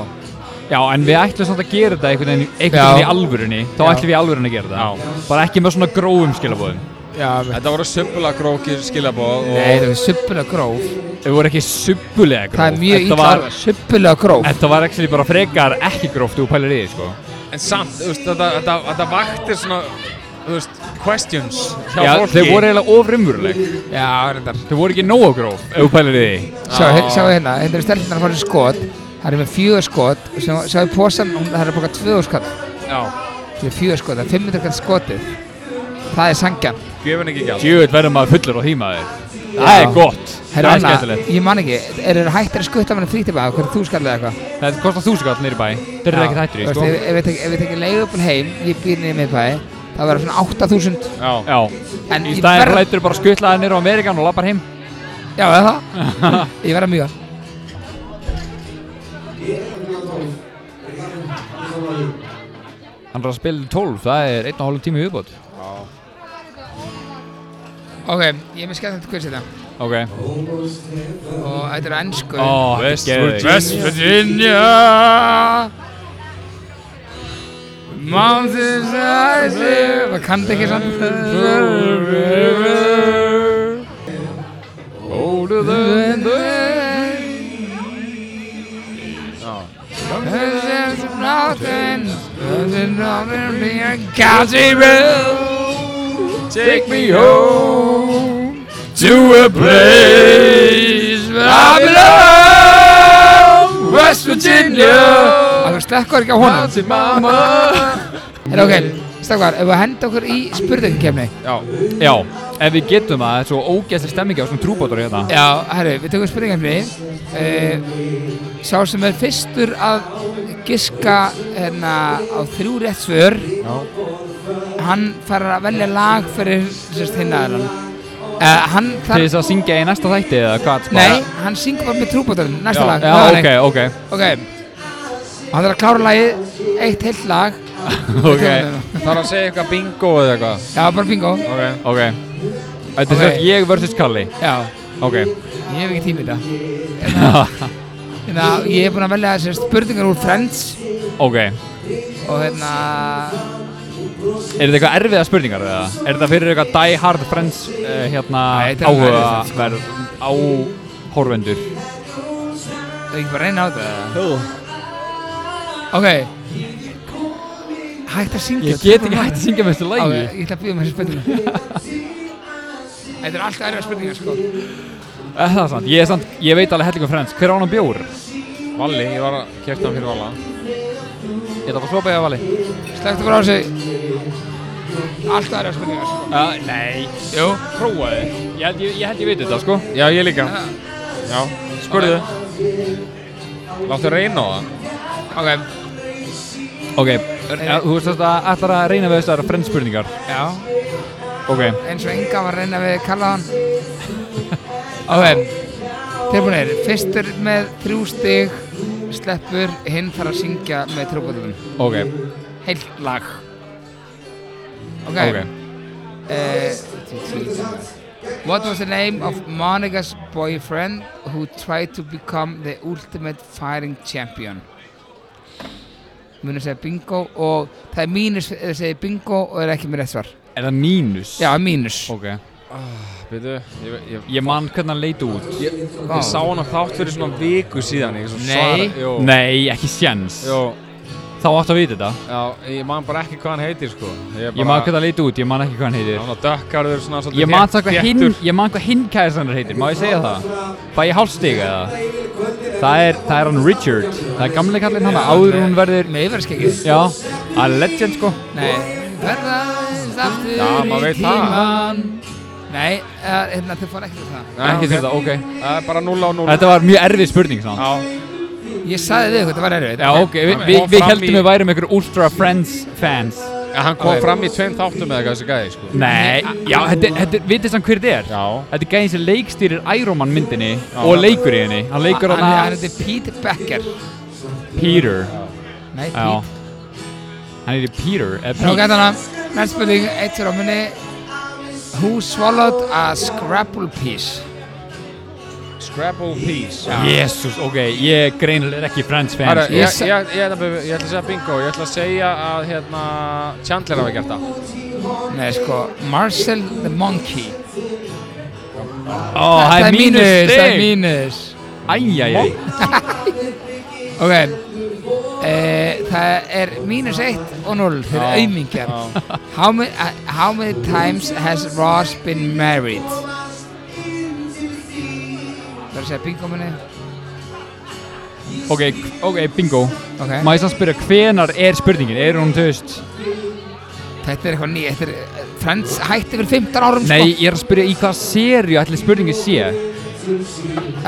Já, en við ætlum samt að gera þetta einhvern veginn, einhvern Já. veginn í alvörunni Þá Já. ætlum við í alvörunni að gera þetta Já. Bara ekki með svona grófum skilabóðum Já, Þetta voru sömbulega grókir skilabóð og Nei, það er suppulega gróf Þau voru ekki subbulega gróf Það er mjög Þetta ítla var, Suppulega gróf Þetta var ekki bara frekar ekki gróft Þú pælir í því, sko En samt, þú veist, þetta, þetta, þetta vaktir svona, þú veist, questions hjá Já, fólki þau voru eiginlega ofrumvurleg Já, reyndar Þau voru ekki nógu gróf, ef þú pælir í því Sjá, he- sjá hérna, hérna eru stelpunar að fara í skot Það eru með fjögur skot og sjá- Sjáðu posan, hún- það er að boka tvöður skot Já, Það er fjögur skot, það er 500 kall skotið Það er sangjan gefin ekki gjald Djöfull verður maður fullur á því maður Það er gott, það er skemmtilegt Ég man ekki, eru þeir hættir að skutta manni frítibæða Hvernig þú skallið eitthvað Það kostar þúsugall nýri bæ, þeir eru Já. ekki hættur í Þú veist, sko Ef ef við tek- ef við tekjum leigubíl heim Ég býr niður í miðbæði Það verður svona 8000 Já, Já, En í ég staðin verð lætur bara skutlaði nýri á Amerikan og lappar heim Já, eða það Ég verð að mjög Hann er að spila 12, það er einn og hálfum tími í viðbót Ok, ég er með skemmtilegt kvist þetta Ok Og þetta er á ennsku Ó, West þetta er geðveikt. Virginia. West Virginia Mountains I live Það kann þetta ekki samt Older than the There's mountains There's nothing me a county road Take me home To a place where I belong West Virginia Það slekkur ekki á honum Mama Er ok, stakkar, ef við henda okkur í spurningkefni Já, Já, ef við getum það, það er svo ógæsli stemmingi á svona trúbótur hérna Já, herru, við tökum spurningkefni uh, Sá sem er fyrstur að giska hérna á þrjú rétt svör Já. Hann fær að velja lag fyrir sérst hinn aðeins uh, Hann Til þarf þess að syngja í næsta þætti eða hvað Nei, hann syngur bara með trúbótarinn, næsta Já, lag já, Nei, ok, nei. ok Ok Hann þarf að klára lagið Eitt heilt lag Ok, þarf að segja eitthvað bingo eða eitthvað Já, bara bingo Ok, ok Þetta er Ok. svo að ég versus Kalli Já, Ok ég hef ekki tími í þetta Hérna, ég hef búin að velja þessar spurningar úr Friends Og Ok hérna Er þetta eitthvað erfiða spurningar eða? Er þetta fyrir eitthvað die hard friends uh, hérna Nei, þetta er áhuga erfiðasta, sko. verð á horfendur? Það er ekki bara að reyna á þetta Jú Ok Hægt að syngja Ég get ekki hægt að syngja með þessu Ok, lægi ég ætla að býða með þessar spurningar Þetta er alltaf erfa spurningar sko Eh, Það er sant, ég, er sant, ég veit alveg hellingu friends Hver á hann bjór? Valli, ég var að kæfta hann fyrir Valla Ég ætla að fá slopa ég að vali Slektu bara á sig Alltaf erfa spurningar sko uh, Eh, Nei Jú Prófaði Ég held ég, ég, held ég veit þetta sko Já, ég líka Já, spurðu Láttu reyna á það Ok, Ok, ja, þú veist þetta ætlar að reyna við þessar friends spurningar já Ok Eins og Inga var að reyna við Kallaðan Ok Tilbúinir, fyrstur með þrjú stig Sleppur, hinn þarf að syngja með trúbóðum Ok, Heilt lag Ok, ok Uh, what was the name of Monica's boyfriend who tried to become the ultimate fighting champion? Munið segja bingo og það er mínus eða segja bingo og er ekki með rétt svar. Er það mínus? Já, mínus. Ok Býtu, ég, ég, Ég man hvernig hann leit út Vá. ég sá hann á þátt fyrir svona viku síðan ég svo Nei. svara- Jú. Nei, ekki sjens Jú, þá átt að vita þetta. Já, ég man bara ekki hvað hann heitir sko Ég, Ég man hvað það leiti út, ég man ekki hvað hann heitir. Hann var dökkarður svona svolítið Ég man þétt- það hvað hinn, þéttur. ég man hvað hinn kæðisannur heitir, má ég segja það? Fæ ég hálfstig eða? Það er, það er hann Richard, það er gamlega kallinn hann, áður en hún verður, Með yfirverðskeggið já, að legend sko. Nei Verðast aftur Já, maður í veit það. tíman Nei, eh, hérna þau fór ekki til það Nei, Ekki ok. til þetta, ok. Það er bara 0 á 0 Þetta var mjög erfið spurning svona. Já, Ég sagði þið eitthvað, þetta var erfið Já, ok, við vi, Og við fram heldum í- við værum einhver Ultra Friends fans en hann kom Ok. fram í tveim þáttum eða eitthvað þessi gæði sko Nei, já, þetta, þetta, vitið samt hver þetta er? Já Þetta er gæðin sem leikstýrir Iron Man myndinni og leikur í henni Hann leikur Hann hann hann að heiti Pete Becker Peter Nei, Já Pete Hann heiti Peter eða Nú Pete. gæti hann að Næst spurning, eitt fyrir á munni Who swallowed a Scrabble piece? Scrabble Peace Jesus, ok, ég greinilega er ekki Friends fan Herra, sko. ég, Ég ég, sa- ég, ætla að- ég ætla að segja bingo, ég ætla að segja að hérna Chandler hafi gert það Nei, sko Marcel the Monkey Ó, það er mínus Það er stig mínus Æjæjæj Ok eh, Það er mínus eitt og 0 fyrir Já, aumingjar how, ma- uh, how many times has Ross been married? Það er að segja bingo minni Ok, ok, bingo Ok Má ég samt spyrja, hvenar er spurningin? Er hún, þú veist Þetta er eitthvað ný Þetta er eh, Friends hætti fyrir 15 árum Nei, ég er að spyrja í hvaða sériu ætli spurningin sé sko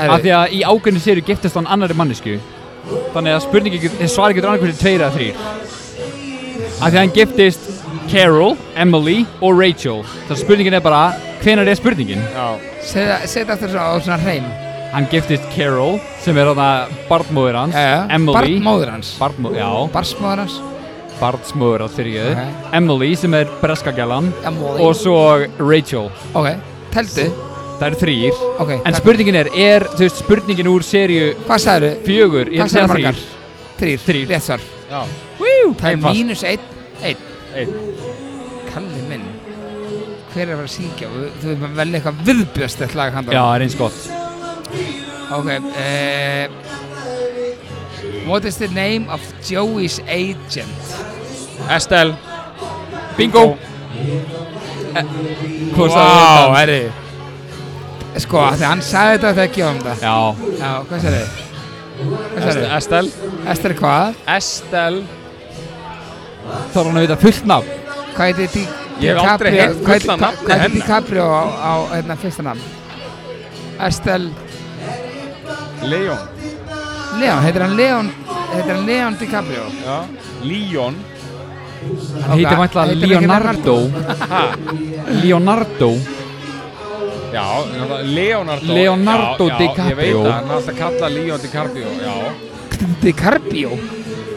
af Nei því að í ákveðinu séri giftist hann annari mannesku þannig að spurningi getur, svari getur annað hvernig tveir eða þrýr af því að hann giftist Carol, Emily og Rachel þannig að spurningin er bara hvenær er spurningin Já, Segð það aftur svona á svona hreim hann giftist Carol sem er þarna barnmóður hans Emily Bartmóður hans barnmó, já, Bartmóður hans barnsmóður hans fyrir ég Ok. Emily sem er breskagallan Emily. og svo Rachel Ok Teldu það eru þrýr Ok en takk. spurningin er, er þú veist spurningin úr seríu Hvað sagður fjögur, ég Hvað ætla að sagður segja margar? Þrýr Þrír. Rétt svar já þrýr Það er Einfalt. mínus einn Einn Einn. Kalli minn Hver er að fara að syngja? Þú- Þú veist maður vel eitthvað viðbjöst eitt lag handa já, það er eins gott Ok uh, What is the name of Joey's agent? Estelle Bingo Hvort Vá, herri Sko, þegar hann sagði þetta þegar ekki á um það Já Já, hvað sagði þið? Hvað sagði þið? Estelle Esther hvað? Estelle Þá er hann að vita fullt nafn Hvað heiti Di Ég hef aldrei DiCaprio- heyrt hvað heitir- fulla hvað- nafnið Hvað heiti hennar. DiCaprio á, á hérna, fyrsta nafn? Estelle Leon Leon, heitir hann Leon heitir hann Leon DiCaprio Já Leon Hann heitir Ok, heitir vantlega hann ekki Leonardo Ha Leonardo Já, náttúrulega Leonardo Leonardo já, Já, ég DiCaprio. veit það, hann er alltaf kallað Leon DiCaprio Já DiCaprio?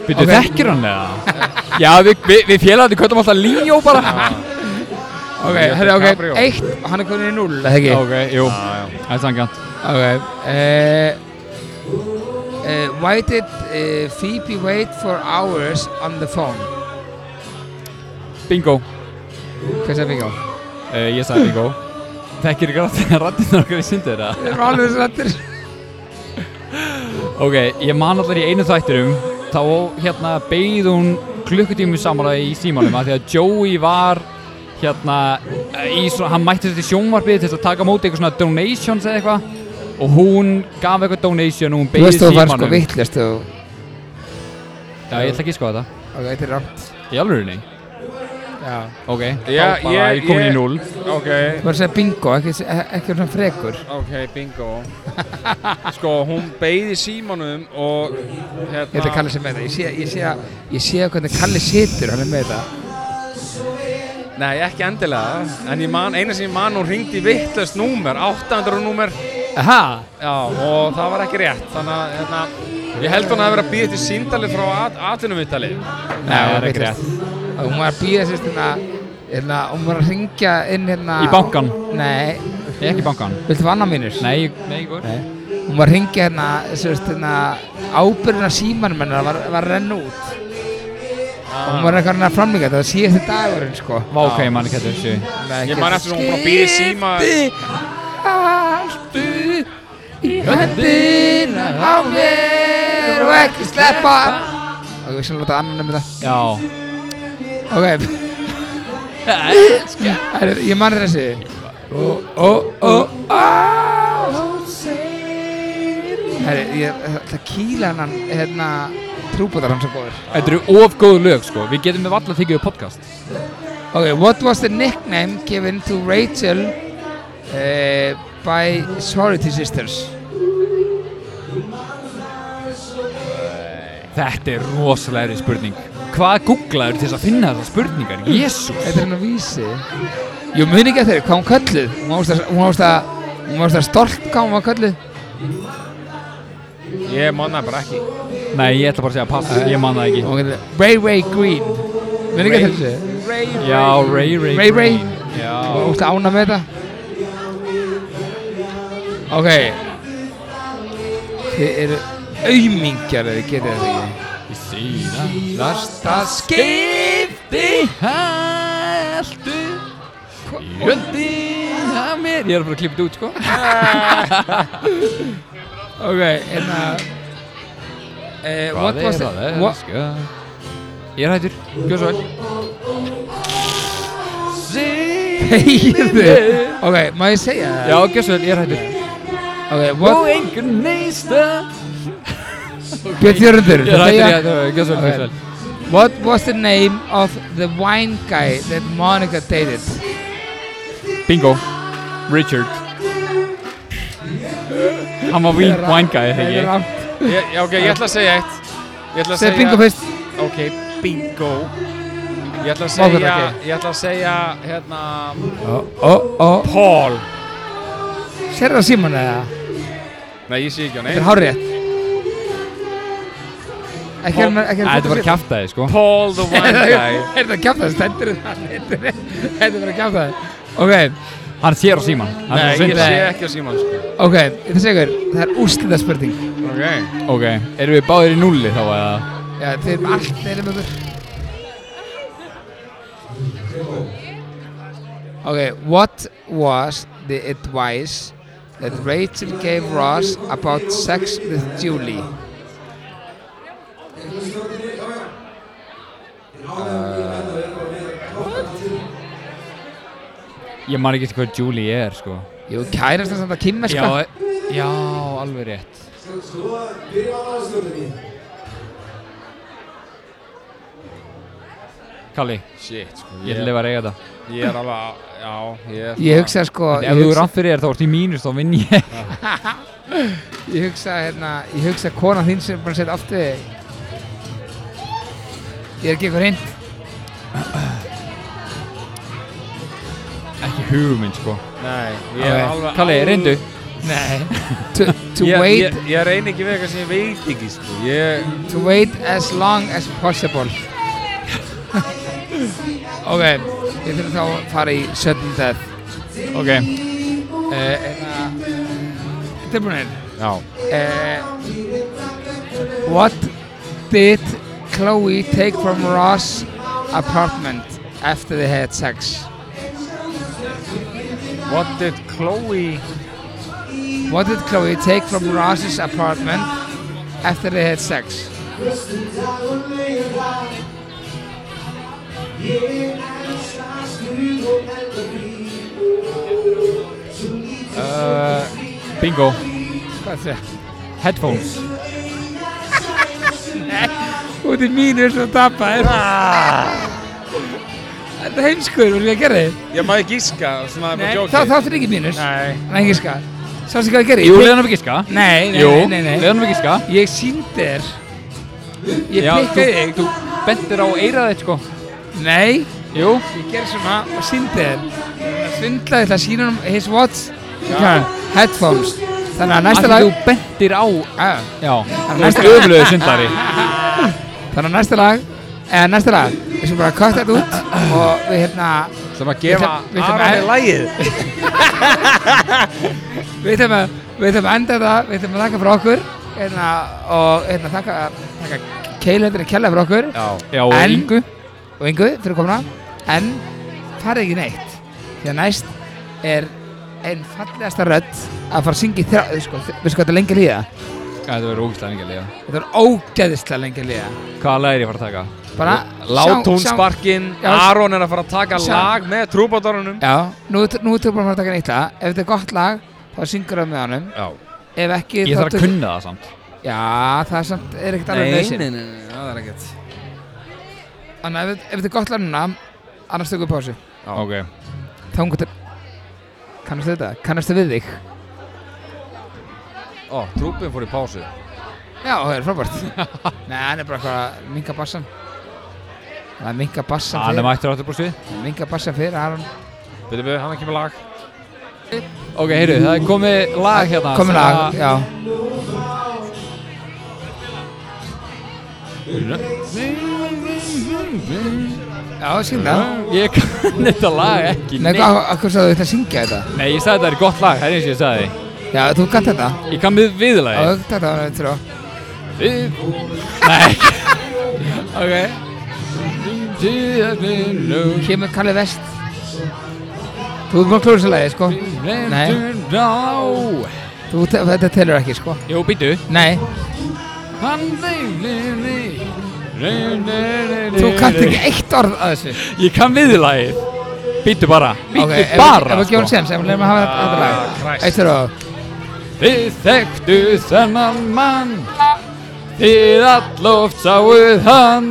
Býtu Ok. þekkir hann eða? Já, við, við, við félagandi köttum alltaf Leo bara Ok, Leon hérna ok, DiCaprio. eitt og hann er komin í null, eða ekki? Ok, jú Já, já Það er sangjant Ok, eh, eh, Why did eh, Phoebe wait for hours on the phone? Bingo Hvað sem fikk á? uh, Ég sagði bingo Þekkir ykkur rættin okkar í sundu þetta? Það er alveg svo rættir Ok, ég man allar í einu þættinum þá hérna beigð hún klukkutími saman í símanum af því að Joey var hérna í svona, hann mætti sér til sjónvarpið til þess að taka á móti eitthvað svona donations eða eitthvað og hún gaf eitthvað donation og hún Þú beigð veist þú var símanum sko vittlust og Já, ég ætla ekki að skoða þetta Ok, þetta er rámt Í alvörunni? Já Ok, Já, þá bara ég- ég komin ég- í núll Ok, Þú var að segja bingo, ekki, ekki svona frekur ok, bingo Sko, hún beigði símanum og hérna Ég ætla að Kalli sem með það Ég sé, ég sé, að- ég sé að hvernig Kalli situr, hann er með það Nei, ekki endilega En ég man, eina sem ég man, hún ringdi vittlust númer 800 númer Aha, Já, og það var ekki rétt Þannig að, hérna Ég held hún að vera að býja til síndali frá at atvinnumvittali nei, það er ekki rétt Og hún var að býða sérst hérna Hérna, hún var að ringja inn hérna Í bankan, Nei, ég er ekki í bankan viltu vanna mínus? Nei, ég- nei, ég góð Hún var að ringja hérna, sérst hérna Ábyrðina símanum hennar var, var að renna út Og hún var eitthvað hérna að framlíka þetta Það var síðasti dagurinn, sko Vá, ok, ég man ekki þetta þessu Nei, Ég ekki- man eftir hún var að býja síma allt upp í höndina á mér og ekki sleppa og við skalum láta annan um það Já ok Herru, ég man þessi ó, ó, ó, á Herru, ég ætla að kýla hennan hérna trúbúðar hans og góður Þetta eru of góð lög sko Við getum með valla þykjuðu podcast Ok, what was the nickname given to Rachel uh, by sorority sisters? Þetta er rosalegri spurning Hvað googlaður til þess að finna þessar spurningar? Jésús Þetta er hennar vísi Jú, muni ekki að þeir, hvað hún kölluð? Hún varst að, hún varst að, hún varst að stolt hvað hún var kölluð Ég manna bara ekki Nei, ég ætla bara að segja pass Ég man það ekki Hún var kölluð Ray Ray Green Muni ekki að þeir þessu? Já, Ray Ray Ray Ray Green. Já Þú varst að ána með þetta Ok Þið eru aumingjar eða getið þetta ekki Ég segi það Lasta skipti Hæltu Jöndi að mér Ég er að fara að klippa þetta út sko Ok, hérna Eh, uh, What was the what, elska Ég er hættur, gjör svo vel Heyrðu Ok, má ég segja það? Já, gjör svo vel, ég er hættur Ok, what einhver neista Björn Jörundur Ég er hættur, ég er hættur, gjör svo vel, gjör svo vel What was the name of the wine guy that Monica dated? Bingo Richard Hann var vín, wine guy, eða Þetta er ekki rangt. ég, já, ok, ég ætla að segja eitt Ég ætla að Segð segja bingo fyrst Ok, bingo Ég ætla að Má segja þetta Ég ætla að segja hérna Ó, ó Paul Sér það síman eða? Nei, ég sé ekki á Þetta neitt er hárið Ekki er Æ, Þetta var að kjátt kjafta þið sko Paul the wine guy Þetta var kjátt það, stendur það Þetta var kjátt það Ok, Hann sér á síman Nei, ég sé Nei. ekki á síman sko. ok, þetta segur Það er úrslita spurning Ok Ok, erum við báðir í núli þá eða? Já, þeir eru allt deilum öður Ok, what was the advice that Rachel gave Ross about sex with Julie? Ég man ekki hvað Julie er sko Jú, kærast það samt að kynna sko Já, e- já, alveg rétt Kalli, Shit, sko ég ætla að vera að eiga þetta Ég er alveg að- Já, ég er Ég hugsa sko Ef Ég þú hugsa, rann fyrir þér þá ert í mínus þá vinn ég ég hugsa, hérna, ég hugsa kona þín sem er bara að setja aftur þig Ég er ekki ykkur hinn Ekki hugmynd sko Nei, ég er Ok. alveg Kalli, reyndu Nei To, to Ég, wait ég, ég reyni ekki við eitthvað sem ég veit ekki sko. ég, to wait as long as possible ok ég fyrir þá að fara í sudden death Ok, Eh, hérna tilbúinir Já uh, what did Chloe take from Ross apartment after they had sex What did Chloe what did Chloe take from Ross's apartment after they had sex bingo hvað er það? Headphones út í mínu er svo tappaðir Ah. þetta er heimskur voru ég að gera þið Ég má ekki gíska svona bara Nei, djóki. þá þáttur ekki mínus Nei Nei, ekki ska Sástu hvað ég gerði? Jú, leiðan af ekki ska Nei, nei, Jú, nei, nei, nei. leiðan af ekki ska Ég síndi þér Ég Já, pikkaði þig Þú bentir á eirað þitt sko Nei, Jú ég gerði svona og síndi þér Svindlaði það sína um his what? Hvað? Headphones Þannig að næsta Af því lag Þú bentir á Ah, Já, þú næsta- ert öflöðu syndari Þannig að næsta lag Eða næsta lag Við sem bara kvætt þetta út Og við hérna Það maður gefa ætla- við ætlum Aroni að- lægið Við ætlum að Við ætlum að enda þetta Við ætlum að þakka fyrir okkur Hérna Og hérna þakka Þakka Keilendri kjærlega fyrir okkur Já Já, og En- yngu og yngu fyrir komuna en farið ekki neitt því að næst er einn fallegasta rödd að fara að syngja í þrjá, sko, við sko þetta er lengi líða Þetta verður ógæslega lengi að liða. Þetta er ógeðislega lengi að liða. Hvaða læri ég fara að taka? Bara Látún sjá- sjá- sparkinn, Já. Aron er að fara að taka Sjá. lag með trúbátorunum Já, nú, ert- nú ertu búin að fara að taka neitt lag. Ef þetta er gott lag, þá syngur það með honum. Já, Ef ekki, Ég þarf tök- að kunna það samt. Já, það er samt, er ekkert alveg nei, nöðsinn. nei, nei, nei, það er ekkert Þannig að ef, ef þetta er gott lag núna, annars tökum við pásu. Já. Ok. Þá hún gott Kannastu þetta? Kannastu við þig? Ó, trúbin fór í pásu Já, það er frábært. Nei, hann er bara eitthvað að minka bassan. Það er minka bassan Hann er fyrir. mættur áttur brúsið. Minka bassan fyrir, Aron. Byrju, byrju, hann kemur lag Ok, heyrðu, það er komið lag hérna. Komið lag, já. Já, skynda. Ég kann þetta lag ekki Nei, hvað, af hverju sagðu þetta að syngja þetta? Nei, ég sagði þetta er gott lag, það er eins og ég sagði Já, þú gætt þetta. Ég kann við Já, viðlagi þetta var þetta, trú. Við... Nei Ok Kemur Kalli Vest. Þú ert búin að klóra þessu lagi, sko. Nei. Ná Þú, þetta telur ekki, sko. Jú, býtu Nei, þú Þú kannt ekki eitt orð að þessu. Ég kann viðlagi Býtu bara Býtu Ok, ef- bara sko. Ef við gefum sem, sem við lefum að hafa þetta- þetta lag. Eitt trú. Þið þekktu þennan mann Þið alloft sáuð hann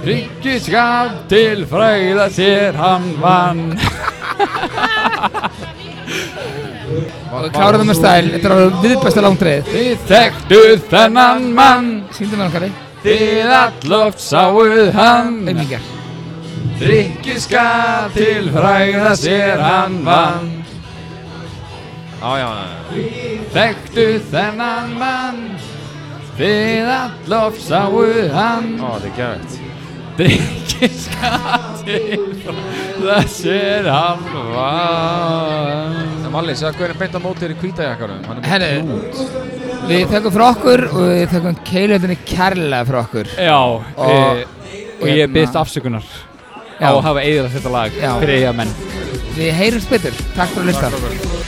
Ríkiskap til fræða sér hann vann Og við klárum það með stæl. Þetta var viðbæsta langdreið. Þið þekktu þennan mann Sýndum við hann, Kalli. Þið alloft sáuð hann Auðmíkjar. Ríkiskap til fræða sér hann vann Já, já, já Þekktu þennan mann Þið alloft sáuð hann Ó, þetta er gæðvægt Drinkiskattir Þessir halvan En Malli, segðu hvernig beint á móti þér í hvítajakkanum Hann er Herri, við þökkum frá okkur og við þökkum keilöndinni kærlega frá okkur. Já eh, Og- Og, og ég hérna- byrst afsökunar á Já. að hafa eigðilegt þetta lag Já. fyrir eiga menn Við heyrumst betur. Takk fyrir að hlusta. Takk fyrir.